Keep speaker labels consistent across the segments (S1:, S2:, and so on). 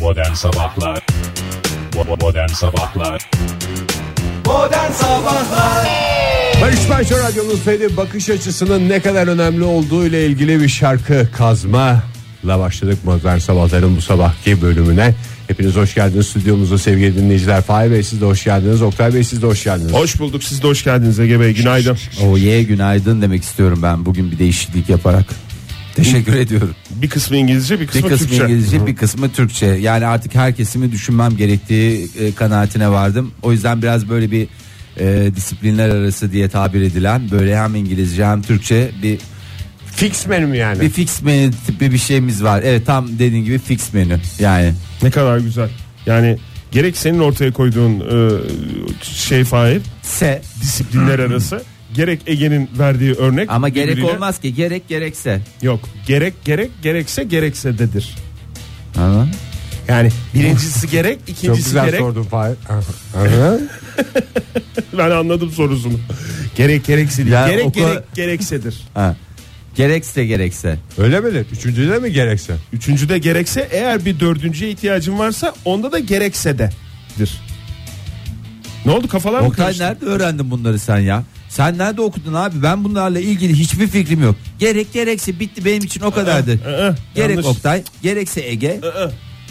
S1: Modern Sabahlar Bo- Modern Sabahlar
S2: Modern Sabahlar
S3: Barış Manço Radyo'nun söylediği bakış açısının ne kadar önemli olduğu ile ilgili bir şarkı kazma la başladık Modern Sabahların bu sabahki bölümüne. Hepiniz hoş geldiniz stüdyomuza sevgili dinleyiciler. Fahir Bey siz de hoş geldiniz. Oktay Bey siz de hoş geldiniz.
S4: Hoş bulduk siz de hoş geldiniz Ege Bey günaydın.
S5: Oye günaydın demek istiyorum ben bugün bir değişiklik yaparak. Teşekkür ediyorum.
S4: Bir kısmı İngilizce bir
S5: Bir
S4: kısmı
S5: kısmı
S4: Türkçe.
S5: İngilizce, bir kısmı Türkçe. Yani artık her kesimi düşünmem gerektiği e, kanaatine vardım. O yüzden biraz böyle bir e, disiplinler arası diye tabir edilen böyle hem İngilizce hem Türkçe bir
S3: Fix menü yani.
S5: bir fix menü tipi bir şeyimiz var. Evet tam dediğin gibi fix menü. Yani
S4: Ne kadar güzel. Yani gerek senin ortaya koyduğun e, şey fail
S5: se
S4: disiplinler
S3: Hmm.
S4: arası gerek Ege'nin verdiği örnek.
S5: ama gerek
S4: birbiriyle-
S5: olmaz ki gerek gerekse.
S4: Yok gerek gerek gerekse gerekse dedir.
S5: Ama
S4: Yani birincisi gerek
S3: Çok
S4: ikincisi
S3: güzel
S4: gerek.
S3: sordun Fahir. Aha.
S4: Ben anladım sorusunu. Gerek gerekse değil.
S5: Ya
S4: gerek
S5: o kadar-
S4: gerek gereksedir.
S5: ha. Gerekse gerekse.
S3: Öyle midir? Üçüncüde mi gerekse?
S4: Üçüncüde gerekse eğer bir dördüncüye ihtiyacın varsa onda da gerekse dedir. Ne oldu kafalar mı
S5: Oktay
S4: karıştı?
S5: nerede öğrendin bunları sen ya? Sen nerede okudun abi? Ben bunlarla ilgili hiçbir fikrim yok. Gerek gerekse bitti benim için o kadardı.
S4: ı,
S5: Gerek
S4: Ee, e, yanlış. Ee,
S5: Oktay, gerekse Ege.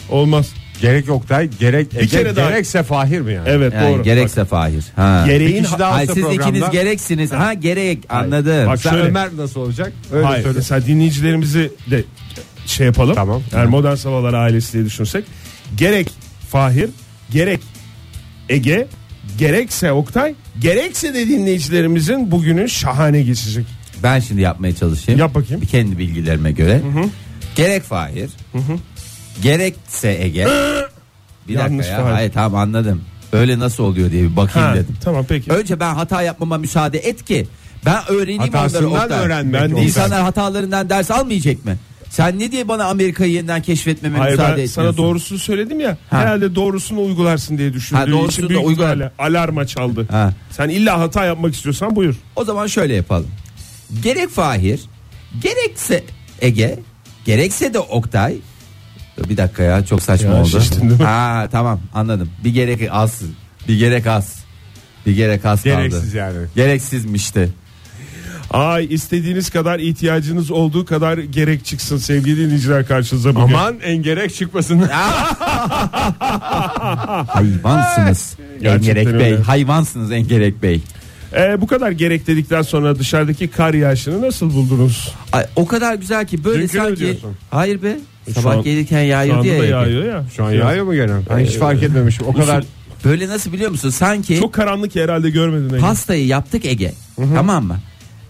S4: Olmaz.
S3: Gerek Oktay gerek Ege,
S4: kere daha-
S3: gerekse Fahir mi yani?
S4: Evet
S5: Yani
S4: doğru.
S5: gerekse Fahir. Ha.
S3: Bir
S4: Gereğin
S3: kişi daha
S5: Hayır,
S3: olsa
S5: siz ikiniz
S3: programda-
S5: gereksiniz. Ha gerek anladım.
S4: Bak
S3: Sen
S4: şöyle.
S3: Ömer nasıl olacak? Öyle
S4: Hayır.
S3: söyle.
S4: Mesela dinleyicilerimizi de şey yapalım.
S3: Tamam.
S4: Yani modern sabahlar ailesi diye düşünsek. Gerek Fahir, gerek Ege, gerekse Oktay, gerekse de dinleyicilerimizin bugünün şahane geçecek.
S5: Ben şimdi yapmaya çalışayım.
S4: Yap bakayım.
S5: Bir Kendi bilgilerime göre. Gerek Fahir. Gerekse Ege. bir
S4: Yanlış
S5: dakika ya.
S4: Fahir.
S5: Hayır tamam anladım. Öyle nasıl oluyor diye bir bakayım
S4: Ha,
S5: dedim.
S4: tamam peki.
S5: Önce ben hata yapmama müsaade et ki ben öğreneyim onları.
S3: Hatasından
S5: Oktay.
S3: öğrenmek.
S4: Ben de
S3: Oktay.
S5: İnsanlar hatalarından ders almayacak mı? Sen ne diye bana Amerika'yı yeniden keşfetmeme
S4: Hayır
S5: müsaade
S4: ben
S5: etmiyorsun?
S4: sana doğrusunu söyledim ya.
S5: Ha.
S4: Herhalde doğrusunu uygularsın diye
S5: Ha,
S4: düşündüğü
S5: doğrusunu
S4: için
S5: da
S4: büyük
S5: uygular.
S4: ihtimalle alarma çaldı.
S5: Ha.
S4: Sen illa hata yapmak istiyorsan buyur.
S5: O zaman şöyle yapalım. Gerek Fahir, gerekse Ege, gerekse de Oktay. Bir dakika ya çok saçma
S4: Ya,
S5: oldu.
S4: şiştin değil mi?
S5: Ha tamam anladım. Bir gerek az, bir gerek az. Bir gerek az kaldı.
S3: Gereksiz yani.
S5: Gereksizmişti.
S4: Ay istediğiniz kadar ihtiyacınız olduğu kadar gerek çıksın sevgili dinleyiciler karşınıza bugün.
S3: Aman en gerek çıkmasın.
S5: Hayvansınız.
S4: Gerçekten
S5: Engerek Bey.
S4: öyle.
S5: Hayvansınız Engerek Bey.
S4: Ee, bu kadar gerek dedikten sonra dışarıdaki kar yağışını nasıl buldunuz?
S5: Ay, o kadar güzel ki böyle
S4: Dünkü mü
S5: sanki.
S4: diyorsun? E,
S5: Hayır be.
S4: Şu
S5: Sabah
S4: an-
S5: gelirken
S4: Şu
S5: yağıyor
S4: anda
S5: diye.
S4: da
S5: Ege.
S4: yağıyor ya.
S3: Şu an yağıyor mu gene? Ben hiç
S4: Ee,
S3: fark etmemişim. O kadar
S5: Böyle nasıl biliyor musun? Sanki
S4: Çok karanlık ya, herhalde görmedin. Ege.
S5: pastayı yaptık Ege. Tamam mı?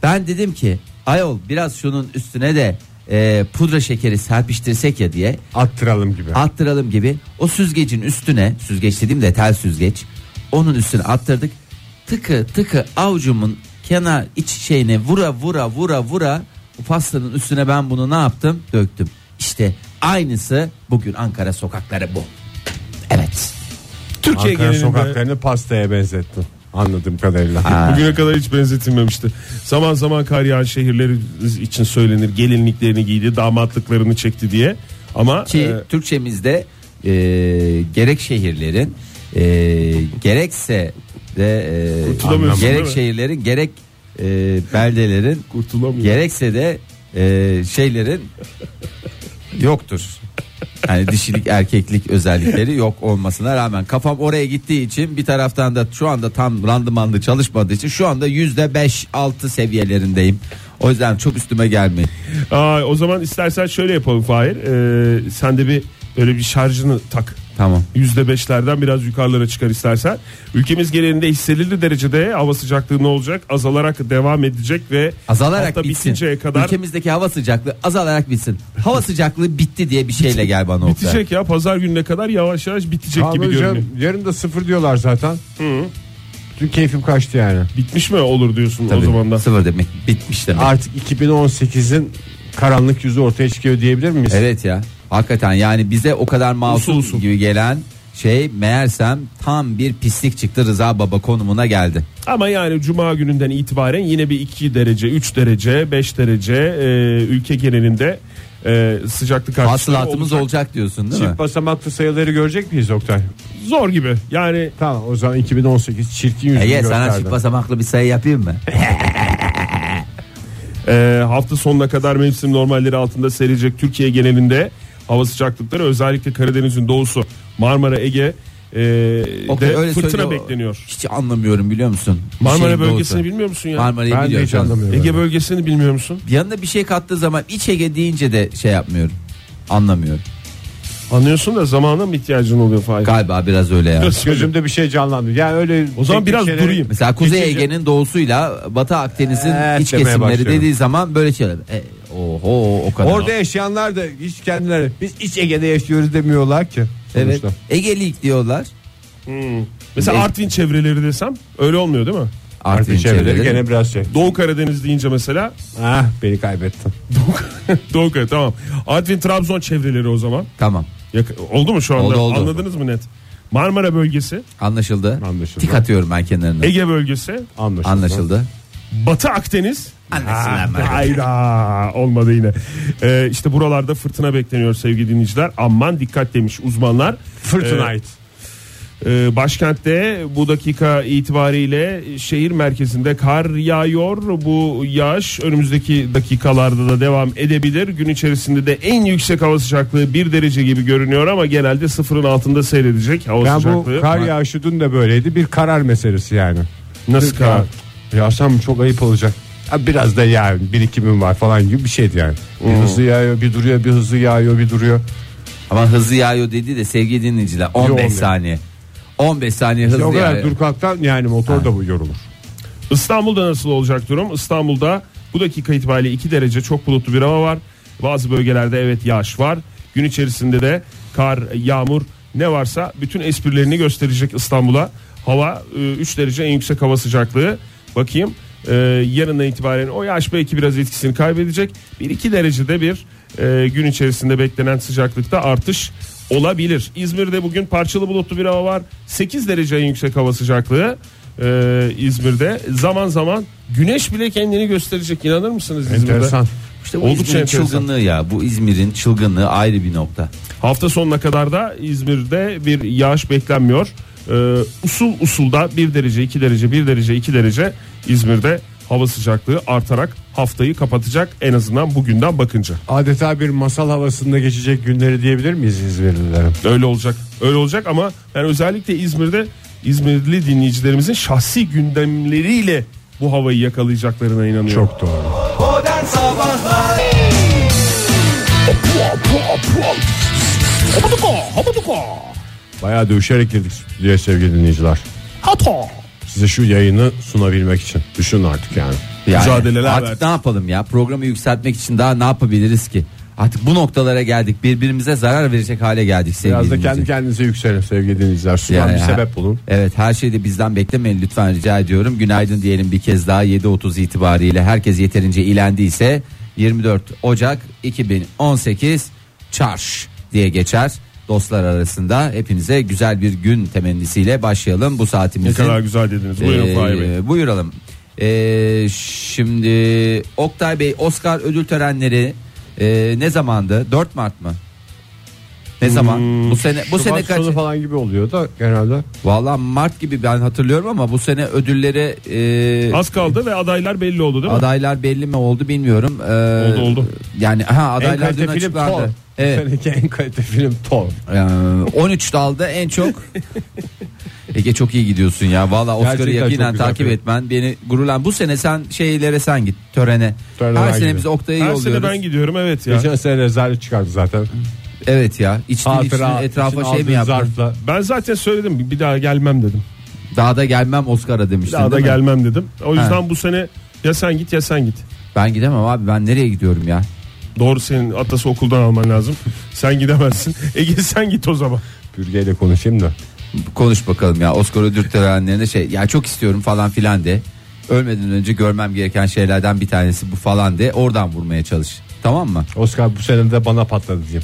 S5: Ben dedim ki ayol biraz şunun üstüne de e, pudra şekeri serpiştirsek ya diye
S3: attıralım gibi.
S5: attıralım gibi. O süzgecin üstüne süzgeç dediğim de tel süzgeç. Onun üstüne attırdık. Tıkı tıkı avcumun kenar iç şeyine vura vura vura vura o pastanın üstüne ben bunu ne yaptım? Döktüm. İşte aynısı bugün Ankara sokakları bu. Evet.
S4: Türkiye
S3: Ankara
S4: genelinde
S3: sokaklarını pastaya benzettin. Anladığım kadarıyla.
S4: bugüne kadar hiç benzetilmemişti. Zaman zaman kar yağan şehirleri için söylenir. Gelinliklerini giydi, damatlıklarını çekti diye. Ama
S5: Ki
S4: e,
S5: Türkçemizde e, gerek şehirlerin e, gerekse de e,
S4: Kurtulamıyorsun, değil
S5: gerek
S4: mi?
S5: şehirlerin gerek e, beldelerin
S4: Kurtulamıyorum.
S5: gerekse de e, şeylerin yoktur. Yani dişilik erkeklik özellikleri yok olmasına rağmen kafam oraya gittiği için bir taraftan da şu anda tam randımanlı çalışmadığı için şu anda yüzde beş altı seviyelerindeyim. O yüzden çok üstüme gelmeyin.
S4: e, Aa, o zaman istersen şöyle yapalım Fahir. Ee, sen de bir böyle bir şarjını tak.
S5: Tamam.
S4: %5'lerden biraz yukarılara çıkar istersen. Ülkemiz genelinde hissedildi derecede hava sıcaklığı ne olacak? Azalarak devam edecek ve
S5: Azalarak
S4: hafta
S5: bitsin.
S4: bitinceye kadar
S5: Ülkemizdeki hava sıcaklığı azalarak bitsin. Hava sıcaklığı bitti diye bir şeyle gel bana Oktay.
S4: bitecek ya. Pazar gününe kadar yavaş yavaş bitecek
S3: Tamam
S4: gibi
S3: hocam,
S4: görünüyor.
S3: yarın da sıfır diyorlar zaten. Dün keyfim kaçtı yani.
S4: Bitmiş mi olur diyorsun
S5: Tabii,
S4: o zaman da.
S5: Sıfır demek bitmiş demek.
S3: Artık 2018'in karanlık yüzü ortaya çıkıyor diyebilir miyiz?
S5: Evet ya. Hakikaten yani bize o kadar masum
S4: Usul usul.
S5: gibi gelen şey meğersem tam bir pislik çıktı Rıza Baba konumuna geldi.
S4: Ama yani cuma gününden itibaren yine bir 2 derece, 3 derece, 5 derece e, ülke genelinde e, sıcaklık artışları
S5: Hasılatımız
S4: olacak.
S5: olacak diyorsun değil mi?
S3: Çift basamaklı sayıları görecek miyiz Oktay?
S4: Zor gibi. Yani
S3: Tamam o zaman 2018 çirkin yüzünü
S5: Ege E, sana
S3: gösterdi.
S5: çift basamaklı bir sayı yapayım mı?
S4: e, hafta sonuna kadar mevsim normalleri altında seyredecek Türkiye genelinde hava sıcaklıkları özellikle Karadeniz'in doğusu Marmara Ege e,
S5: Oktay
S4: de
S5: öyle
S4: fırtına
S5: söylüyor.
S4: bekleniyor.
S5: Hiç anlamıyorum biliyor musun? Bir
S4: Marmara
S5: şeyin
S4: bölgesini
S5: doğusu.
S4: bilmiyor musun ya?
S5: Marmara'yı
S3: Ben de
S5: biliyorum
S3: hiç
S5: canım.
S3: anlamıyorum.
S4: Ege bölgesini bilmiyor musun?
S5: Yanına bir şey kattığı zaman iç Ege deyince de şey yapmıyorum. Anlamıyorum.
S4: Anlıyorsun da zamana mı ihtiyacın oluyor Fahir?
S5: Galiba biraz öyle ya.
S3: Gözümde bir şey canlandı. Yani öyle
S4: O zaman
S3: tek
S4: biraz
S3: şeyleri-
S4: durayım.
S5: Mesela Kuzey
S3: Geçici-
S5: Ege'nin doğusuyla Batı Akdeniz'in
S3: Evet,
S5: iç
S3: demeye
S5: kesimleri
S3: başlıyorum.
S5: dediği zaman böyle şeyler. E, oho o kadar.
S3: Orada yaşayanlar da hiç kendileri biz iç Ege'de yaşıyoruz demiyorlar ki.
S5: evet.
S3: sonuçta.
S5: Egelik diyorlar.
S4: Mesela
S5: Ege-
S4: Artvin çevreleri desem öyle olmuyor değil mi?
S5: Artvin
S3: Artık çevreleri
S5: çevreleri.
S3: gene biraz şey.
S4: Doğu Karadeniz deyince mesela
S3: Ah beni kaybettin.
S4: Doğu Karadeniz tamam. Artvin Trabzon çevreleri o zaman.
S5: Tamam.
S4: Yak- oldu mu şu anda?
S5: Oldu, oldu.
S4: Anladınız mı net? Marmara bölgesi,
S5: Anlaşıldı.
S3: Anlaşıldı.
S5: Tik atıyorum ben kenarına.
S4: Ege bölgesi,
S3: Anlaşıldı.
S5: Anlaşıldı.
S4: Batı Akdeniz.
S5: Anlaşıldı. ama.
S4: Hayda olmadı yine. Ee, işte buralarda fırtına bekleniyor sevgili dinleyiciler. Aman dikkat demiş uzmanlar.
S3: Fırtına ait.
S4: Ee, başkentte bu dakika itibariyle şehir merkezinde kar yağıyor. Bu yağış önümüzdeki dakikalarda da devam edebilir. Gün içerisinde de en yüksek hava sıcaklığı 1 derece gibi görünüyor ama genelde sıfırın altında seyredecek hava
S3: Ben
S4: sıcaklığı.
S3: bu kar yağışı dün de böyleydi. Bir karar meselesi yani.
S4: Nasıl karar?
S3: Yağsam çok ayıp olacak. Ha, Biraz da yani birikimim var falan gibi bir şeydi yani. Bir
S5: Hmm.
S3: hızlı yağıyor bir duruyor bir hızlı yağıyor bir duruyor.
S5: Ama hızlı yağıyor dedi de sevgili dinleyiciler 15
S3: olmuyor.
S5: saniye. 15 saniye hızlı
S3: o kadar
S5: yağıyor.
S3: dur kalktan yani motor da bu yorulur.
S4: İstanbul'da nasıl olacak durum? İstanbul'da bu dakika itibariyle 2 derece çok bulutlu bir hava var. Bazı bölgelerde evet yağış var. Gün içerisinde de kar, yağmur ne varsa bütün esprilerini gösterecek İstanbul'a. Hava 3 derece en yüksek hava sıcaklığı. Bakayım e, yarından itibaren o yağış belki biraz etkisini kaybedecek. 1-2 derecede bir e, gün içerisinde beklenen sıcaklıkta artış olabilir. İzmir'de bugün parçalı bulutlu bir hava var. 8 derece en yüksek hava sıcaklığı e, İzmir'de. Zaman zaman güneş bile kendini gösterecek. İnanır mısınız İzmir'de?
S3: Enteresan.
S5: İşte bu
S4: Oldukça
S5: İzmir'in
S4: enteresan.
S5: çılgınlığı ya. Bu İzmir'in çılgınlığı ayrı bir nokta.
S4: Hafta sonuna kadar da İzmir'de bir yağış beklenmiyor. E, usul usulda 1 derece 2 derece 1 derece 2 derece İzmir'de hava sıcaklığı artarak haftayı kapatacak en azından bugünden bakınca.
S3: Adeta bir masal havasında geçecek günleri diyebilir miyiz İzmirlilerim?
S4: Öyle olacak. Öyle olacak ama yani özellikle İzmir'de İzmirli dinleyicilerimizin şahsi gündemleriyle bu havayı yakalayacaklarına inanıyorum.
S3: Çok doğru.
S2: Modern Sabahlar
S3: Bayağı dövüşerek girdik stüdyoya sevgili dinleyiciler. Size şu yayını sunabilmek için. Düşün artık yani.
S5: Yani
S4: Mücadeleler
S5: artık
S4: verdik.
S5: ne yapalım ya? Programı yükseltmek için daha ne yapabiliriz ki? Artık bu noktalara geldik. Birbirimize zarar verecek hale geldik sevgili
S3: Biraz da kendi
S5: dinleyiciler.
S3: kendinize yükselin sevgili dinleyiciler. Sudan
S5: Yani
S3: bir
S5: ha-
S3: sebep bulun.
S5: Evet her şeyi de bizden beklemeyin lütfen rica ediyorum. Günaydın diyelim bir kez daha 7.30 itibariyle herkes yeterince ilendiyse 24 Ocak 2018 çarş diye geçer. Dostlar arasında hepinize güzel bir gün temennisiyle başlayalım bu
S4: Ne
S5: saatimizin.
S4: kadar güzel dediniz. Buyurun
S5: Ee,
S4: Fahir Bey.
S5: Buyuralım. Ee, şimdi Oktay Bey Oscar ödül törenleri e, ne zamandı? 4 Mart mı? Ne zaman?
S4: Hmm,
S5: bu sene bu
S3: Şubat
S5: sene kaç?
S3: sonu falan gibi oluyor da genelde.
S5: Valla Mart gibi ben hatırlıyorum ama bu sene ödüllere e,
S4: Az kaldı ve adaylar belli oldu değil mi?
S5: adaylar belli mi oldu bilmiyorum. Ee,
S4: Oldu, oldu.
S5: Yani ha
S3: En
S5: adaylar dün
S3: kalite film Thor.
S5: açıklandı. Evet.
S3: Bu seneki en kalite film Thor.
S5: Ee, 13 dalda en çok Ege çok iyi gidiyorsun ya. Valla Oscar'ı
S3: Gerçekten
S5: yakinen
S3: çok güzel
S5: takip
S3: film.
S5: etmen beni gururlan. Bu sene sen şeylere sen git törene.
S3: Törene
S5: Her
S3: ben
S5: sene
S3: gidiyorum.
S5: biz Oktay'ı
S4: Her
S5: yolluyoruz.
S4: sene ben gidiyorum evet ya.
S3: Geçen sene rezalet çıkardı zaten.
S5: Evet ya. İçtin
S3: Hatıra,
S5: içtin etrafa
S3: için
S5: şey mi
S3: aldığın
S5: yaptın?
S3: zarfla.
S4: Ben zaten söyledim bir daha gelmem dedim.
S5: Daha da gelmem Oscar'a
S4: Bir
S5: demiştin
S4: daha da
S5: değil mi?
S4: gelmem dedim. O
S5: Ha.
S4: yüzden bu sene ya sen git ya sen git.
S5: Ben gidemem abi ben nereye gidiyorum ya?
S4: Doğru senin atası okuldan alman lazım. Sen gidemezsin. Ege sen git o zaman.
S3: Bürgeyle konuşayım da.
S5: Konuş bakalım ya Oscar ödül törenlerine şey ya çok istiyorum falan filan de. Ölmeden önce görmem gereken şeylerden bir tanesi bu falan de. Oradan vurmaya çalış. Tamam mı?
S3: Oscar bu sene de bana patladı diyeyim.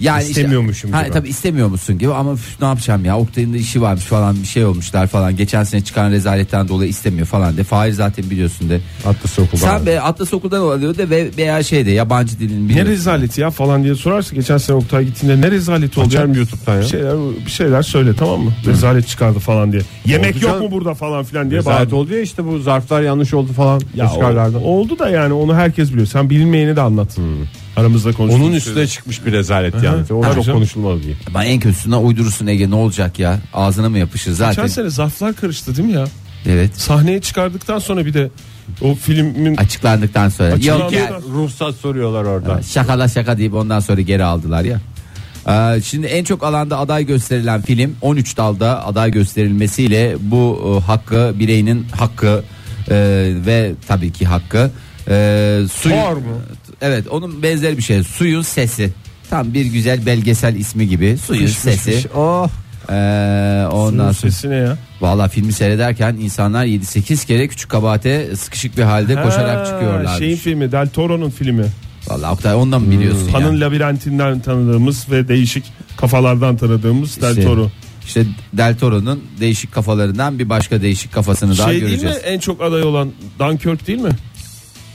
S5: Yani
S3: İstemiyormuşum
S5: işte, ha,
S3: gibi.
S5: Tabii istemiyor musun gibi ama üf, ne yapacağım ya Oktay'ın da işi varmış falan bir şey olmuşlar falan. Geçen sene çıkan rezaletten dolayı istemiyor falan de. Fahir zaten biliyorsun de.
S3: Atlas okulda.
S5: Sen be, Atlas okuldan alıyor de ve veya şey de yabancı dilin
S4: Ne
S5: biliyorsun.
S4: rezaleti ya falan diye sorarsa geçen sene Oktay gittiğinde ne rezaleti olacak?
S3: Açarım YouTube'dan ya.
S4: Bir şeyler, bir şeyler söyle tamam mı? Rezalet çıkardı falan diye. Yemek
S3: Oldu
S4: yok
S3: canım.
S4: mu burada falan filan diye bağırdı.
S3: Zaten oldu ya işte bu zarflar yanlış oldu falan.
S4: Ya o-
S3: Oscar'larda.
S4: oldu da yani onu herkes biliyor. Sen bilinmeyeni de anlat.
S5: Hmm.
S4: Aramızda konuştuk.
S3: Onun üstüne çıkmış bir rezalet yani. O
S4: Tabii
S3: çok
S4: canım.
S3: konuşulmalı diye.
S5: Ben en kötüsünden uydurursun Ege ne olacak ya ağzına mı yapışır
S4: Geçen
S5: zaten.
S4: sene zarflar karıştı değil mi ya?
S5: Evet
S4: Sahneye çıkardıktan sonra bir de o filmin
S5: açıklandıktan sonra. Yok ya
S4: Açıklandıktan
S3: Ruhsat soruyorlar orada.
S5: şakala şaka deyip ondan sonra geri aldılar ya. Ee, Şimdi en çok alanda aday gösterilen film 13 dalda aday gösterilmesiyle bu e, hakkı bireyinin hakkı e, ve tabii ki hakkı e, suyun,
S4: Thor mu?
S5: Evet onun benzeri bir şey suyun sesi tam bir güzel belgesel ismi gibi suyun sesi
S3: Oh.
S5: Ee, ondan
S4: Bunun
S5: sonra
S4: sesine ya.
S5: Valla filmi seyrederken insanlar 7-8 kere küçük kabahate sıkışık bir halde
S4: Ha,
S5: koşarak çıkıyorlarmış.
S4: Şeyin Hmm. filmi Del Toro'nun filmi.
S5: Valla Oktay ondan mı biliyorsun ya?
S4: Pan'ın labirentinden tanıdığımız ve değişik kafalardan tanıdığımız Del
S5: İşte-
S4: Toro.
S5: İşte Del Toro'nun değişik kafalarından bir başka değişik kafasını daha
S4: Şey değil mi
S5: göreceğiz.
S4: en çok aday olan Dunkirk değil mi?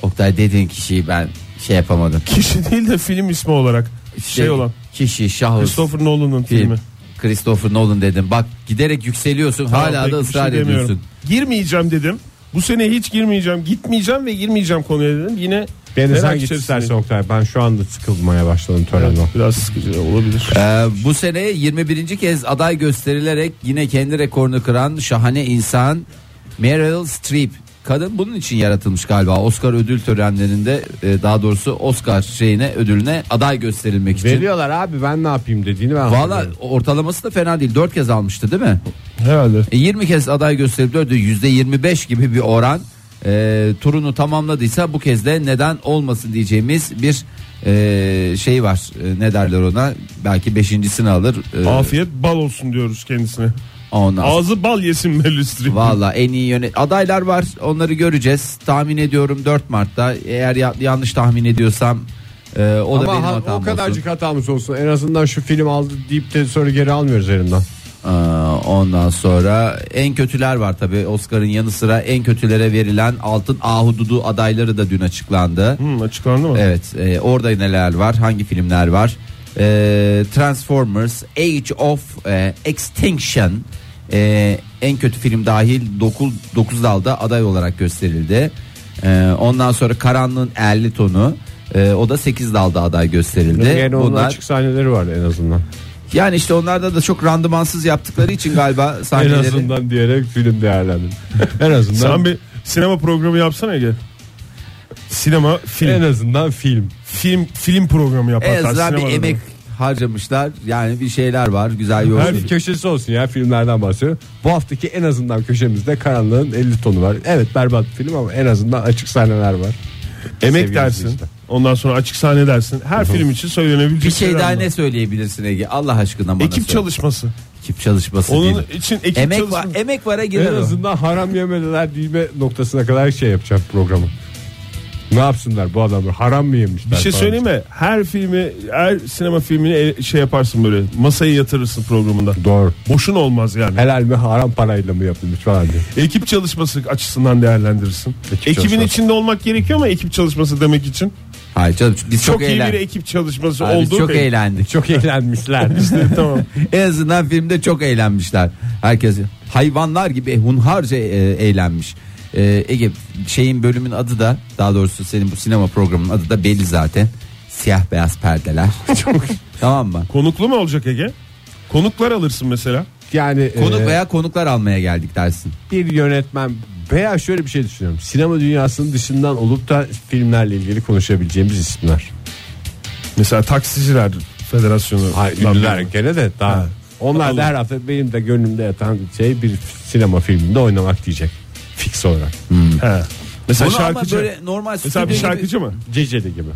S5: Oktay dediğin kişiyi ben şey yapamadım.
S4: Kişi değil de film ismi olarak şey olan
S5: Kişi şahıs.
S4: Christopher Nolan'ın filmi.
S5: film. Christopher Nolan dedim. Bak giderek yükseliyorsun
S4: Tamam,
S5: hala
S4: pek
S5: da
S4: bir
S5: ısrar
S4: şey demiyorum.
S5: ediyorsun.
S4: Girmeyeceğim dedim. Bu sene hiç girmeyeceğim. Gitmeyeceğim ve girmeyeceğim konuya dedim. Yine
S3: Beni
S4: merak
S3: sen git
S4: içerisindeyim.
S3: istersen Oktay. Ben şu anda sıkılmaya başladım törenden.
S4: Evet, biraz sıkıcı olabilir.
S5: Ee, bu sene 21. kez aday gösterilerek yine kendi rekorunu kıran şahane insan Meryl Streep. Kadın bunun için yaratılmış galiba. Oscar ödül törenlerinde e, daha doğrusu Oscar şeyine ödülüne aday gösterilmek için.
S3: Veriyorlar abi ben ne yapayım dediğini ben
S5: Valla
S3: hatırlıyorum.
S5: ortalaması da fena değil. 4 kez almıştı değil mi?
S4: Herhalde.
S5: E, 20 kez aday gösterip 4'ü %25 gibi bir oran. E, turunu tamamladıysa bu kez de neden olmasın diyeceğimiz bir e, şey var. E, ne derler ona? Belki beşincisini alır. E,
S4: Afiyet bal olsun diyoruz kendisine.
S5: Ondan sonra-
S4: Ağzı bal yesin Meryl Streep.
S5: Valla en iyi yönet adaylar var onları göreceğiz tahmin ediyorum 4 Mart'ta eğer ya- yanlış tahmin ediyorsam e, o da
S3: Ama
S5: benim
S3: ha-
S5: hatam
S3: o kadarcık
S5: olsun.
S3: hatamız olsun. En azından şu film aldı deyip de sonra geri almıyoruz elinden.
S5: Ee, ondan sonra en kötüler var tabi Oscar'ın yanı sıra en kötülere verilen altın ahududu adayları da dün açıklandı.
S4: Hmm, açıklandı mı?
S5: Evet e, orada neler var hangi filmler var Ee, Transformers Age of e, Extinction e, en kötü film dahil 9, 9 dalda aday olarak gösterildi Ee, ondan sonra Karanlığın 50 tonu e, o da 8 dalda aday gösterildi
S3: Yani onun
S5: Bunlar-
S3: açık sahneleri var en azından.
S5: yani işte onlarda da çok randımansız yaptıkları için galiba
S3: En
S5: sahneleri
S3: azından diyerek film değerlendim. en azından
S4: Sen bir sinema programı yapsana Ege. Sinema, film.
S3: en azından film.
S4: Film film programı
S5: en
S4: yaparsan
S5: azından bir
S4: sinemadan.
S5: emek harcamışlar yani bir şeyler var güzel
S3: Her
S5: yolculuk
S3: bir köşesi olsun ya filmlerden bahsediyorum. Bu haftaki en azından köşemizde karanlığın 50 tonu var. Evet berbat bir film ama en azından açık sahneler var.
S4: Emek
S3: Sevgili
S4: dersin.
S3: izleyiciler.
S4: Ondan sonra açık sahne dersin. Her film için söylenebilecek
S5: Bir şey
S4: şeyler
S5: daha
S4: bunlar.
S5: ne söyleyebilirsin Ege? Allah aşkına bana
S4: Ekip
S5: söyle.
S4: çalışması.
S5: Ekip çalışması
S4: Onun
S5: değil.
S4: için ekip
S5: Emek
S4: çalışması.
S5: var, emek vara
S3: En
S5: girer o.
S3: azından haram yemediler dilme noktasına kadar şey yapacağım programı. Ne yapsınlar bu adamlar haram mı yemişler?
S4: Bir şey
S3: falan.
S4: söyleyeyim mi? Her filmi, her sinema filmini el- şey yaparsın böyle. Masaya yatırırsın programında.
S3: Doğru.
S4: Boşun olmaz yani.
S3: Helal mi haram parayla mı yapılmış falan diye.
S4: Ekip çalışması açısından değerlendirirsin.
S3: Ekip
S4: Ekibin
S3: çalışması.
S4: içinde olmak gerekiyor mu ekip çalışması demek için?
S5: Hayır canım biz çok,
S4: Çok, iyi bir
S5: eğlendik.
S4: ekip çalışması
S5: Abi,
S4: oldu.
S5: çok eğlendik.
S3: Çok eğlenmişler.
S4: tamam.
S5: En azından filmde çok eğlenmişler. Herkes hayvanlar gibi hunharca e, eğlenmiş. E, Ege şeyin bölümün adı da daha doğrusu senin bu sinema programının adı da belli zaten. Siyah beyaz perdeler. tamam mı?
S4: Konuklu mu olacak Ege? Konuklar alırsın mesela.
S3: yani
S5: Konuk
S3: e,
S5: veya konuklar almaya geldik dersin.
S3: bir yönetmen veya şöyle bir şey düşünüyorum. Sinema dünyasının dışından olup da filmlerle ilgili konuşabileceğimiz isimler.
S4: Mesela taksiciler federasyonu.
S3: Hayır, ünlüler gene de daha. Onlar da her hafta benim de gönlümde yatan şey bir sinema filminde oynamak diyecek. Fix olarak.
S4: He. Mesela
S5: Bunu
S4: şarkıcı.
S5: ama böyle normal
S4: Mesela bir
S5: stüdyo gibi-
S4: şarkıcı mı?
S3: Ceceli gibi.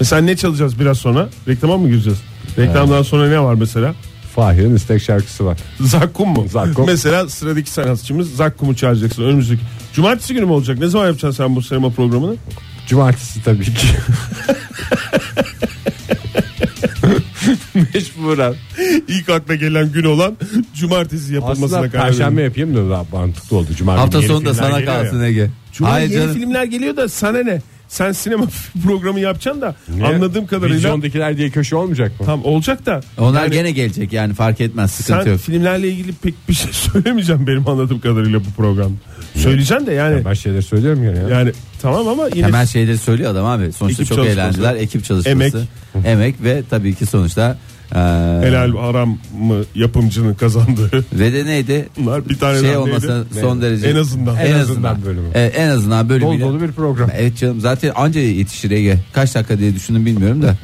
S4: Mesela ne çalacağız biraz sonra? Reklama mı gireceğiz? Reklamdan sonra ne var mesela?
S3: Fahir'in istek şarkısı var.
S4: Zakkum mu?
S3: Zakkum.
S4: Mesela sıradaki sanatçımız Zakkum'u çağıracaksın önümüzdeki. Cumartesi günü mü olacak? Ne zaman yapacaksın sen bu sinema programını?
S3: Cumartesi tabii ki. Mecburen.
S4: İlk akla gelen gün olan cumartesi yapılmasına
S3: Aslında
S4: karar verdim.
S3: perşembe yapayım da daha mantıklı oldu. Cuma günü
S5: Hafta
S3: yeni
S5: sonu da
S3: filmler
S5: sana
S3: geliyor ya.
S5: kalsın Ege.
S4: Cuma
S5: Hayır
S4: yeni
S5: canım.
S4: filmler geliyor da sana ne? Sen sinema programı yapacaksın da
S3: Ne?
S4: anladığım kadarıyla
S3: Vizyondakiler diye köşe olmayacak mı?
S4: tam olacak da.
S5: Onlar
S4: Yani
S5: gene gelecek yani fark etmez sıkıntı
S4: sen
S5: yok.
S4: filmlerle ilgili pek bir şey söylemeyeceğim benim anladığım kadarıyla bu programda. Söyleyeceksin de yani.
S3: Ben şeyleri söylüyorum ya. ya.
S4: Yani tamam ama yine
S5: Temel şeyleri söylüyor adam abi. Sonuçta
S4: Ekip
S5: çok
S4: çalışması.
S5: eğlenceler, ekip çalışması, emek, ve tabii ki sonuçta e, eee,
S4: helal haram mı yapımcının kazandığı.
S5: ve de neydi?
S4: Bunlar bir tane
S5: şey
S4: daha
S5: olmasa
S4: neydi?
S5: son derece
S4: En azından.
S5: en,
S3: En azından
S5: azından
S3: bölümü.
S5: E, en azından
S3: Dolu
S5: bölümüyle.
S3: dolu bir program.
S5: Evet canım zaten anca yetişir Ege. Kaç dakika diye düşündüm bilmiyorum da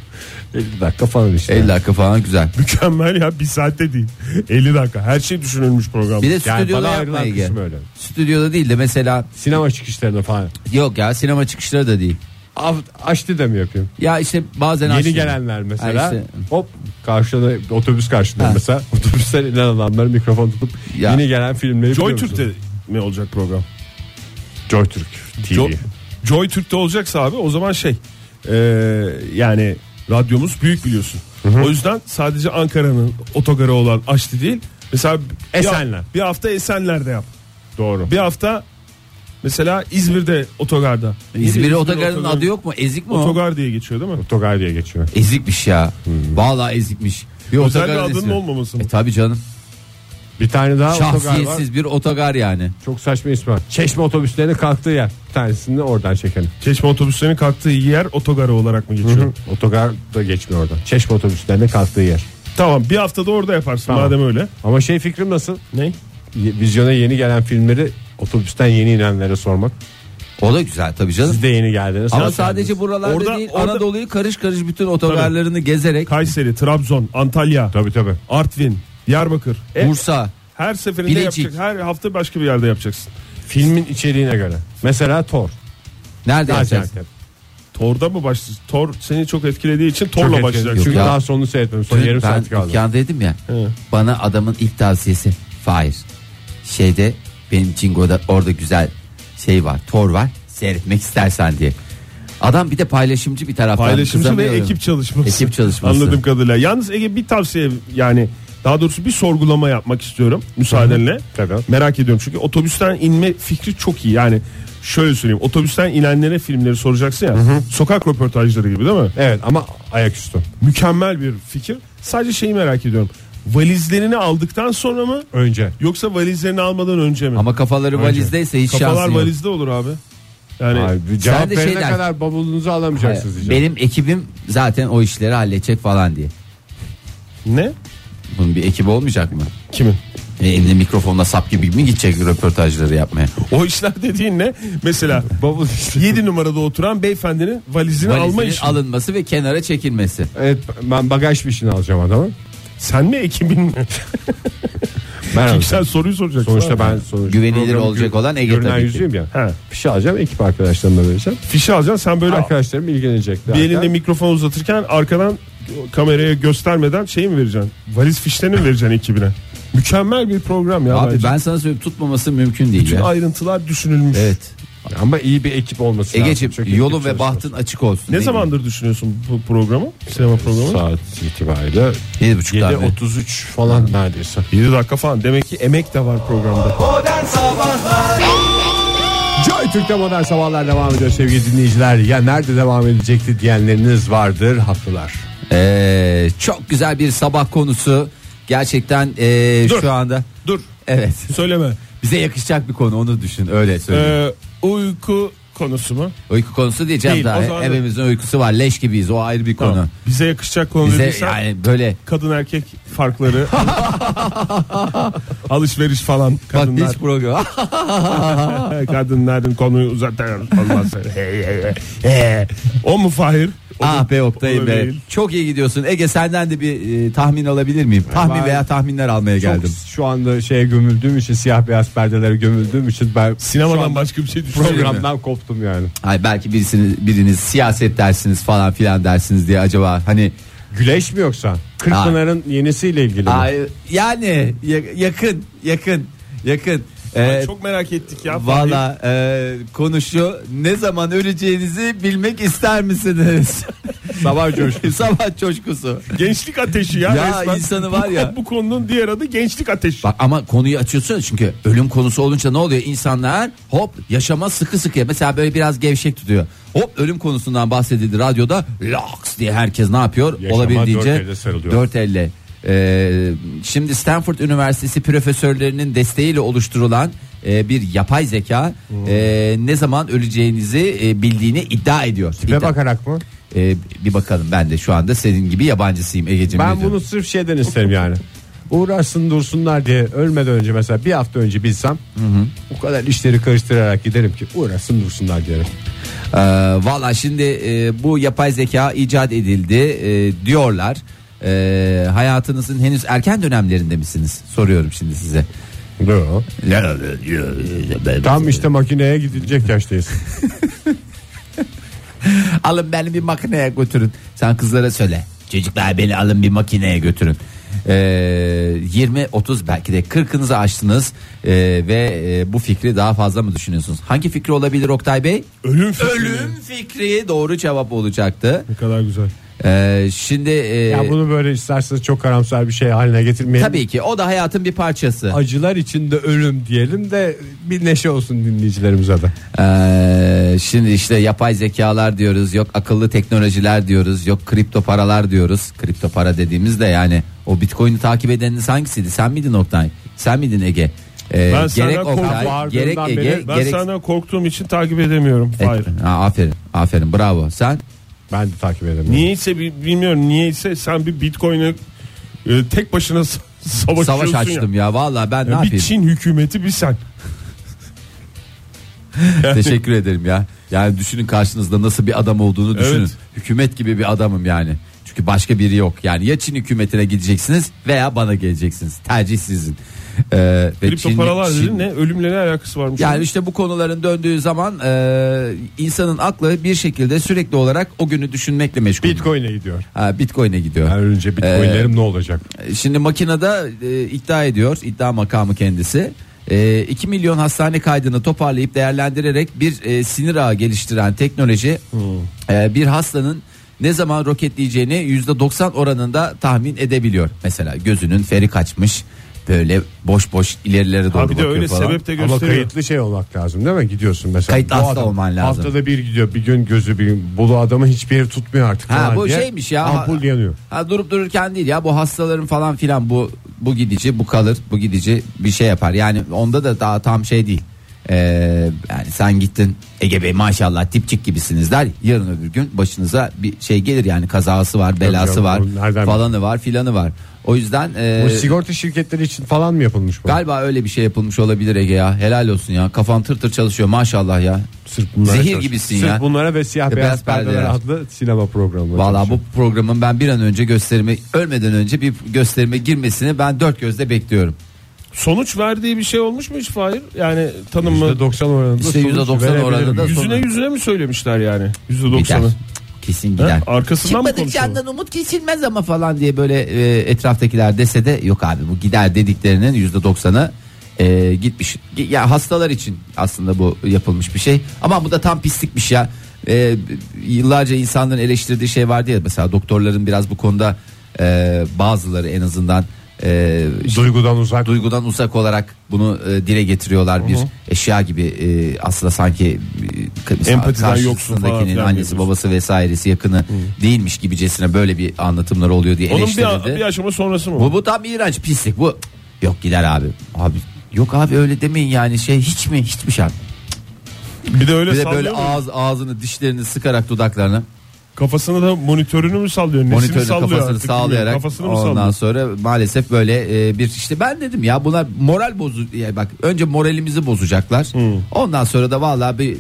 S3: 50 dakika falan işte.
S5: 50 dakika falan güzel.
S4: Mükemmel ya bir saatte değil. 50 dakika her şey düşünülmüş programda.
S5: Bir de
S3: Yani bana
S5: stüdyoda yapma
S3: ayrılan
S5: Ege.
S3: kısmı öyle.
S5: Stüdyoda değil de mesela
S3: Sinema çıkışlarında falan.
S5: yok ya sinema çıkışları da değil.
S3: Af- Açtı da mı yapayım?
S5: Ya işte bazen
S3: Yeni
S5: açtım.
S3: gelenler mesela
S5: Ha işte.
S3: hop karşıda otobüs karşında
S5: Ha.
S3: mesela otobüsten inen adamlar mikrofon tutup
S5: Ya.
S3: yeni gelen filmleri
S4: Joy
S3: biliyor musun?
S4: Türk'te mi olacak program?
S3: Joy Türk TV.
S4: Jo- Joy Türk'te olacaksa abi o zaman şey e, yani radyomuz büyük biliyorsun. O yüzden sadece Ankara'nın otogarı olan Açlı değil. Mesela bir-
S3: Esenler.
S4: Bir hafta Esenler'de yap.
S3: Doğru.
S4: Bir hafta mesela İzmir'de otogarda.
S5: İzmir
S4: İzmir
S5: otogarının
S4: otogarı-
S5: adı yok mu? Ezik mi o?
S4: Otogar diye geçiyor değil mi?
S3: Togar diye geçiyor.
S5: Ezikmiş ya. Vallahi ezikmiş. Bir
S4: Özel bir
S5: otogarın
S4: adının
S5: ismi.
S4: olmaması mı?
S5: E tabi canım.
S3: Bir tane daha otogar var.
S5: Şahsiyetsiz bir otogar yani.
S3: Çok saçma ismi var. Çeşme otobüslerine kalktığı yer. Bir tanesini oradan çekelim.
S4: Çeşme otobüslerinin kalktığı yer otogarı olarak mı geçiyor?
S3: Otogar da geçmiyor oradan. Çeşme otobüslerine kalktığı yer.
S4: Tamam bir haftada orada yaparsın
S3: Tamam.
S4: madem öyle.
S3: Ama şey fikrim nasıl?
S4: Ne?
S3: Y- Vizyona yeni gelen filmleri otobüsten yeni inenlere sormak.
S5: O da güzel tabi canım.
S3: Siz de yeni geldiniz.
S5: Ama
S3: Hoş
S5: sadece
S3: geldiniz.
S5: buralarda
S4: Orada-
S5: değil
S4: orada-
S5: Anadolu'yu karış karış bütün otogarlarını gezerek
S4: Kayseri, Trabzon, Antalya,
S3: Tabii tabii.
S4: Artvin, Diyarbakır. E,
S5: Bursa
S4: her seferinde
S5: Bilecik.
S4: yapacak. Her hafta başka bir yerde yapacaksın.
S3: Filmin içeriğine göre. Mesela Thor.
S5: nerede yapacaksın?
S3: Gaziantep.
S4: Torda mı başlıyorsun? Tor seni çok etkilediği için torla
S3: Çok
S4: başlayacak.
S3: etkili. Çünkü
S5: Yok ya.
S3: daha sonunu seyretmedim.
S4: şey,
S3: Son yarım
S5: Dün ben
S3: saat kaldı.
S5: dükkandaydım ya. Bana adamın ilk tavsiyesi Fahir. Şeyde benim Cingo'da orada güzel şey var. Tor var. Seyretmek istersen diye. Adam bir de paylaşımcı bir taraftan.
S4: Paylaşımcı ve
S5: kızamıyorum.
S4: ekip çalışması.
S5: Ekip çalışması.
S4: Anladığım kadarıyla. Yalnız Ege bir tavsiye yani daha doğrusu bir sorgulama yapmak istiyorum müsaadenle.
S3: Tabii.
S4: Merak ediyorum çünkü otobüsten inme fikri çok iyi. Yani şöyle söyleyeyim otobüsten inenlere filmleri soracaksın ya. Sokak röportajları gibi değil mi?
S3: Evet ama ayaküstü.
S4: Mükemmel bir fikir. Sadece şeyi merak ediyorum. Valizlerini aldıktan sonra mı
S3: Önce.
S4: yoksa valizlerini almadan önce mi?
S5: Ama kafaları valizdeyse hiç
S4: Kafalar
S5: şansın yok.
S4: valizde olur abi. Yani şey-
S3: Abi, bir cevap
S5: Sen de
S3: verene
S5: şeyden-
S3: kadar bavulunuzu alamayacaksınız. diyeceğim.
S5: Benim ekibim zaten o işleri halledecek falan diye.
S4: ne?
S5: Bunun bir ekibi olmayacak mı?
S4: Kimin?
S5: E, elinde mikrofonla sap gibi mi gidecek röportajları yapmaya?
S4: O işler dediğin ne? Mesela
S3: Bavul işte.
S4: 7 numarada oturan beyefendinin valizini alma
S5: Valizinin
S4: işi.
S5: alınması ve kenara çekilmesi.
S3: Evet ben bagaj fişini alacağım adamı.
S4: Sen mi ekibin mi?
S3: Ben
S4: Çünkü
S3: alacağım.
S4: sen soruyu soracaksın.
S3: Sonuçta
S4: Abi.
S3: ben sonuç
S5: Güvenilir
S3: programın
S5: olacak
S3: gö-
S5: olan Ege
S3: görünen
S5: tabii ki.
S3: yüzüyüm ya.
S4: He.
S3: Fişi alacağım ekip arkadaşlarımla vereceğim.
S4: Fişi alacaksın sen böyle
S3: Arkadaşlarım ilgilenecekler.
S4: bir elinde mikrofon uzatırken arkadan kameraya göstermeden şeyi mi vereceksin? Valiz fişlerini mi vereceksin ekibine? Mükemmel bir program ya
S5: Abi
S4: bence.
S5: ben sana söyleyeyim tutmaması mümkün değil
S4: Bütün
S5: ya.
S4: ayrıntılar düşünülmüş.
S5: Evet.
S3: Ama iyi bir ekip olması lazım.
S5: Ege'ciğim
S3: Çok ekip
S5: yolun ve
S3: çalışması.
S5: bahtın açık olsun.
S4: Ne
S5: Değil mi?
S4: zamandır düşünüyorsun bu programı? Sinema programı?
S3: Saat itibariyle
S5: Yedi buçuktan beri.
S3: 7.33 falan neredeyse.
S4: 7 dakika falan. Demek ki emek de var programda.
S2: Modern Sabahlar
S3: Joy Türk'te modern sabahlar devam ediyor sevgili dinleyiciler. Ya nerede devam edecekti diyenleriniz vardır haklılar.
S5: Ee, çok güzel bir sabah konusu. Gerçekten ee,
S4: Dur.
S5: şu anda.
S4: Dur
S5: Evet.
S4: söyleme.
S5: Bize yakışacak bir konu onu düşün öyle söyleyeyim.
S4: Ee, uyku konusu mu?
S5: Uyku konusu diyeceğim
S4: değil, o
S5: daha.
S4: zaman-
S5: Evimizin uykusu var. Leş gibiyiz. O ayrı bir konu.
S4: Tamam. Bize yakışacak konu
S5: Bize
S4: dediysen-
S5: yani böyle
S4: kadın erkek farkları alışveriş falan kadınlar
S5: Bak hiç program.
S4: kadınların konuyu uzatan olmaz o mu Fahir O
S5: ah
S4: mu?
S5: be
S4: O
S5: Oktay
S4: da
S5: be.
S4: değil.
S5: Çok iyi gidiyorsun. Ege senden de bir e, tahmin alabilir miyim?
S4: Ee,
S5: Tahmin
S3: Ben-
S5: veya tahminler almaya geldim.
S3: Çok şu anda şeye gömüldüğüm için siyah beyaz perdelere gömüldüğüm için ben şu
S4: sinemadan
S3: anda
S4: başka bir şey düşünüyorum
S3: programdan koptum yani.
S5: Ay belki birisiniz biriniz siyaset dersiniz falan filan dersiniz diye acaba hani
S3: Güleş mi yoksa? Kırkpınar'ın yenisiyle ilgili mi?
S5: ay, yani ya- yakın yakın yakın. Ee,
S4: çok merak ettik ya Fahir.
S5: Valla e, konuşu ne zaman öleceğinizi bilmek ister misiniz?
S3: Sabah coşkusu.
S5: Sabah coşkusu.
S4: Gençlik ateşi ya.
S5: Ya
S4: resmen.
S5: insanı var ya.
S4: Bu konunun diğer adı gençlik ateşi.
S5: Bak ama konuyu açıyorsun ya çünkü ölüm konusu olunca ne oluyor? İnsanlar hop yaşama sıkı sıkıya mesela böyle biraz gevşek tutuyor. Hop ölüm konusundan bahsedildi radyoda laks diye herkes ne yapıyor?
S3: Yaşama
S5: Olabildiğince
S3: dört elle sarılıyor.
S5: dört elle. Ee, şimdi Stanford Üniversitesi profesörlerinin desteğiyle oluşturulan e, bir yapay zeka
S3: Hmm.
S5: e, ne zaman öleceğinizi e, bildiğini iddia ediyor.
S3: Ve
S5: İddia-
S3: bakarak mı?
S5: E, bir bakalım ben de şu anda senin gibi yabancısıyım Egeciğim.
S3: Ben
S5: Ne diyorsun?
S3: bunu sırf şeyden isterim yani. Uğraşsın dursunlar diye ölmeden önce mesela bir hafta önce bilsem o kadar işleri karıştırarak giderim ki uğraşsın dursunlar diyelim.
S5: Ee, Valla şimdi e, bu yapay zeka icat edildi e, diyorlar. E, hayatınızın henüz erken dönemlerinde misiniz? Soruyorum şimdi size.
S3: Yo. Tam işte makineye gidilecek yaştayız.
S5: Alın beni bir makineye götürün. Sen kızlara söyle. Çocuklar beni alın bir makineye götürün. Ee, 20 30 belki de 40'ınızı aştınız Ee, ve e, bu fikri daha fazla mı düşünüyorsunuz? Hangi fikri olabilir Oktay Bey?
S4: Ölüm fikri.
S5: Ölüm fikri doğru cevap olacaktı.
S4: Ne kadar güzel.
S5: Ee, şimdi e,
S3: ya bunu böyle isterseniz çok karamsar bir şey haline getirmeyelim.
S5: tabii ki o da hayatın bir parçası.
S3: Acılar içinde ölüm diyelim de bir neşe olsun dinleyicilerimize de.
S5: Ee, şimdi işte yapay zekalar diyoruz, yok akıllı teknolojiler diyoruz, yok kripto paralar diyoruz. Kripto para dediğimiz de yani o Bitcoin'i takip edeniniz hangisiydi? Sen miydin Oktay? Sen miydin Ege? Ee,
S4: Ben senden
S5: gerek Oktay,
S3: korktum.
S5: gerek
S3: Bağırdığından
S5: Ege,
S3: beri
S4: Ben
S5: gerek
S4: senden korktuğum için takip edemiyorum.
S5: Et-
S4: Hayır.
S5: Ha, aferin, aferin, bravo. Sen
S3: Ben de takip edemiyorum.
S4: Niyeyse bi- bilmiyorum niyeyse sen bir bitcoin'e e, tek başına s- savaşıyorsun
S5: savaş
S4: ya.
S5: açtım ya, vallahi ben ne
S4: Ya bir
S5: yapayım?
S4: Çin hükümeti bir sen.
S5: Teşekkür ederim ya. Yani düşünün karşınızda nasıl bir adam olduğunu düşünün.
S4: Evet.
S5: Hükümet gibi bir adamım yani. Çünkü başka biri yok. Yani ya Çin hükümetine gideceksiniz veya bana geleceksiniz. Tercih sizin. Ee, ve
S4: Kripto
S5: Çin-
S4: paralar
S5: Çin-
S4: dedin ne ölümle ne alakası varmış?
S5: Yani işte bu konuların döndüğü zaman e, insanın aklı bir şekilde sürekli olarak o günü düşünmekle meşgul.
S3: Bitcoin'e gidiyor.
S5: Ha, Bitcoin'e gidiyor.
S3: Ben önce
S5: e,
S4: Ee,
S3: Bitcoin'lerim ne olacak?
S5: Şimdi makinede e, iddia ediyor iddia makamı kendisi. E, 2 milyon hastane kaydını toparlayıp değerlendirerek bir e, sinir ağı geliştiren teknoloji
S4: Hmm.
S5: e, bir hastanın ne zaman roketleyeceğini %90 oranında tahmin edebiliyor. Mesela gözünün feri kaçmış böyle boş boş ilerilere doğru
S4: Ha bir de
S5: bakıyor
S4: öyle
S5: falan.
S4: sebep de
S3: Ama
S4: gösteriyor.
S3: kayıtlı şey olmak lazım değil mi? Gidiyorsun mesela.
S5: Kayıtlı
S3: Bu
S5: hasta olman lazım.
S3: Haftada bir gidiyor bir gün gözü bir gün. Bu adamı hiçbir yeri tutmuyor artık.
S5: Ha
S3: falan
S5: bu
S3: diye.
S5: şeymiş ya.
S3: Ampul
S5: Ha-
S3: yanıyor.
S5: Ha durup dururken değil ya bu hastaların falan filan bu bu gidici bu kalır bu gidici bir şey yapar. Yani onda da daha tam şey değil. Ee, yani sen gittin Ege Bey maşallah tipçik gibisiniz der. Yarın öbür gün başınıza bir şey gelir yani kazası var, belası
S3: canım,
S5: var,
S3: oğlum, nereden
S5: falanı var, filanı var. O yüzden e,
S3: Bu sigorta şirketleri için falan mı yapılmış bu?
S5: galiba öyle bir şey yapılmış olabilir Ege ya. Helal olsun ya. Kafan tır tır çalışıyor maşallah ya.
S3: Sırf bunlara
S5: Zehir
S3: çalışıyor.
S5: gibisin
S3: Sırf
S5: ya.
S3: bunlara ve siyah
S5: Ya,
S3: beyaz,
S5: beyaz
S3: perdeler
S5: perdeler.
S3: adlı sinema programı.
S5: Valla bu programın ben bir an önce gösterime ölmeden önce bir gösterime girmesini ben dört gözle bekliyorum.
S4: Sonuç verdiği bir şey olmuş mu hiç Fahir? Yani tanımı
S3: %90 oranında
S5: İşte
S3: sonuç
S5: %90
S3: verebilir
S5: oranında
S3: miyim?
S5: sonuç-
S4: yüzüne yüzüne mi söylemişler yani?
S5: Gider.
S4: %90'ı.
S5: Kesin
S4: Ha?
S5: gider.
S4: Arkasından mı
S5: Çıkmadık
S4: konuşuyorlar?
S5: candan umut kesilmez ama falan diye böyle e, etraftakiler dese de yok abi bu gider dediklerinin yüzde doksanı e, gitmiş. Gi- Ya hastalar için aslında bu yapılmış bir şey ama bu da tam pislikmiş ya. E, yıllarca insanların eleştirdiği şey vardı ya mesela doktorların biraz bu konuda e, bazıları en azından e,
S3: Duygudan uzak.
S5: duygudan uzak olarak bunu e, dile getiriyorlar bir eşya gibi e, aslında sanki e,
S4: Empatiden
S5: karşısındakinin
S4: yoksun falan filan
S5: annesi
S4: diyorsun.
S5: babası vesairesi yakını değilmiş gibicesine böyle bir anlatımlar oluyor diye
S4: Onun bir, bir
S5: eleştirildi.
S4: aşama sonrası mı?
S5: Bu, bu tam iğrenç pislik bu. Yok gider abi. Abi yok abi öyle demeyin yani şey hiç mi hiçbir şey.
S4: bir de öyle
S5: Bir de
S4: sallıyor
S5: böyle
S4: mu?
S5: ağız ağzını dişlerini sıkarak dudaklarını
S4: Kafasını da monitörünü mü sallıyor? Nesini
S5: monitörün
S4: sallıyor
S5: kafasını
S4: artık bilmiyorum.
S5: sağlayarak
S4: Kafasını mı
S5: ondan
S4: sallıyor?
S5: sonra maalesef böyle e, bir işte ben dedim ya buna moral bozu yani bak önce moralimizi bozacaklar.
S4: Hmm.
S5: Ondan sonra da vallahi bir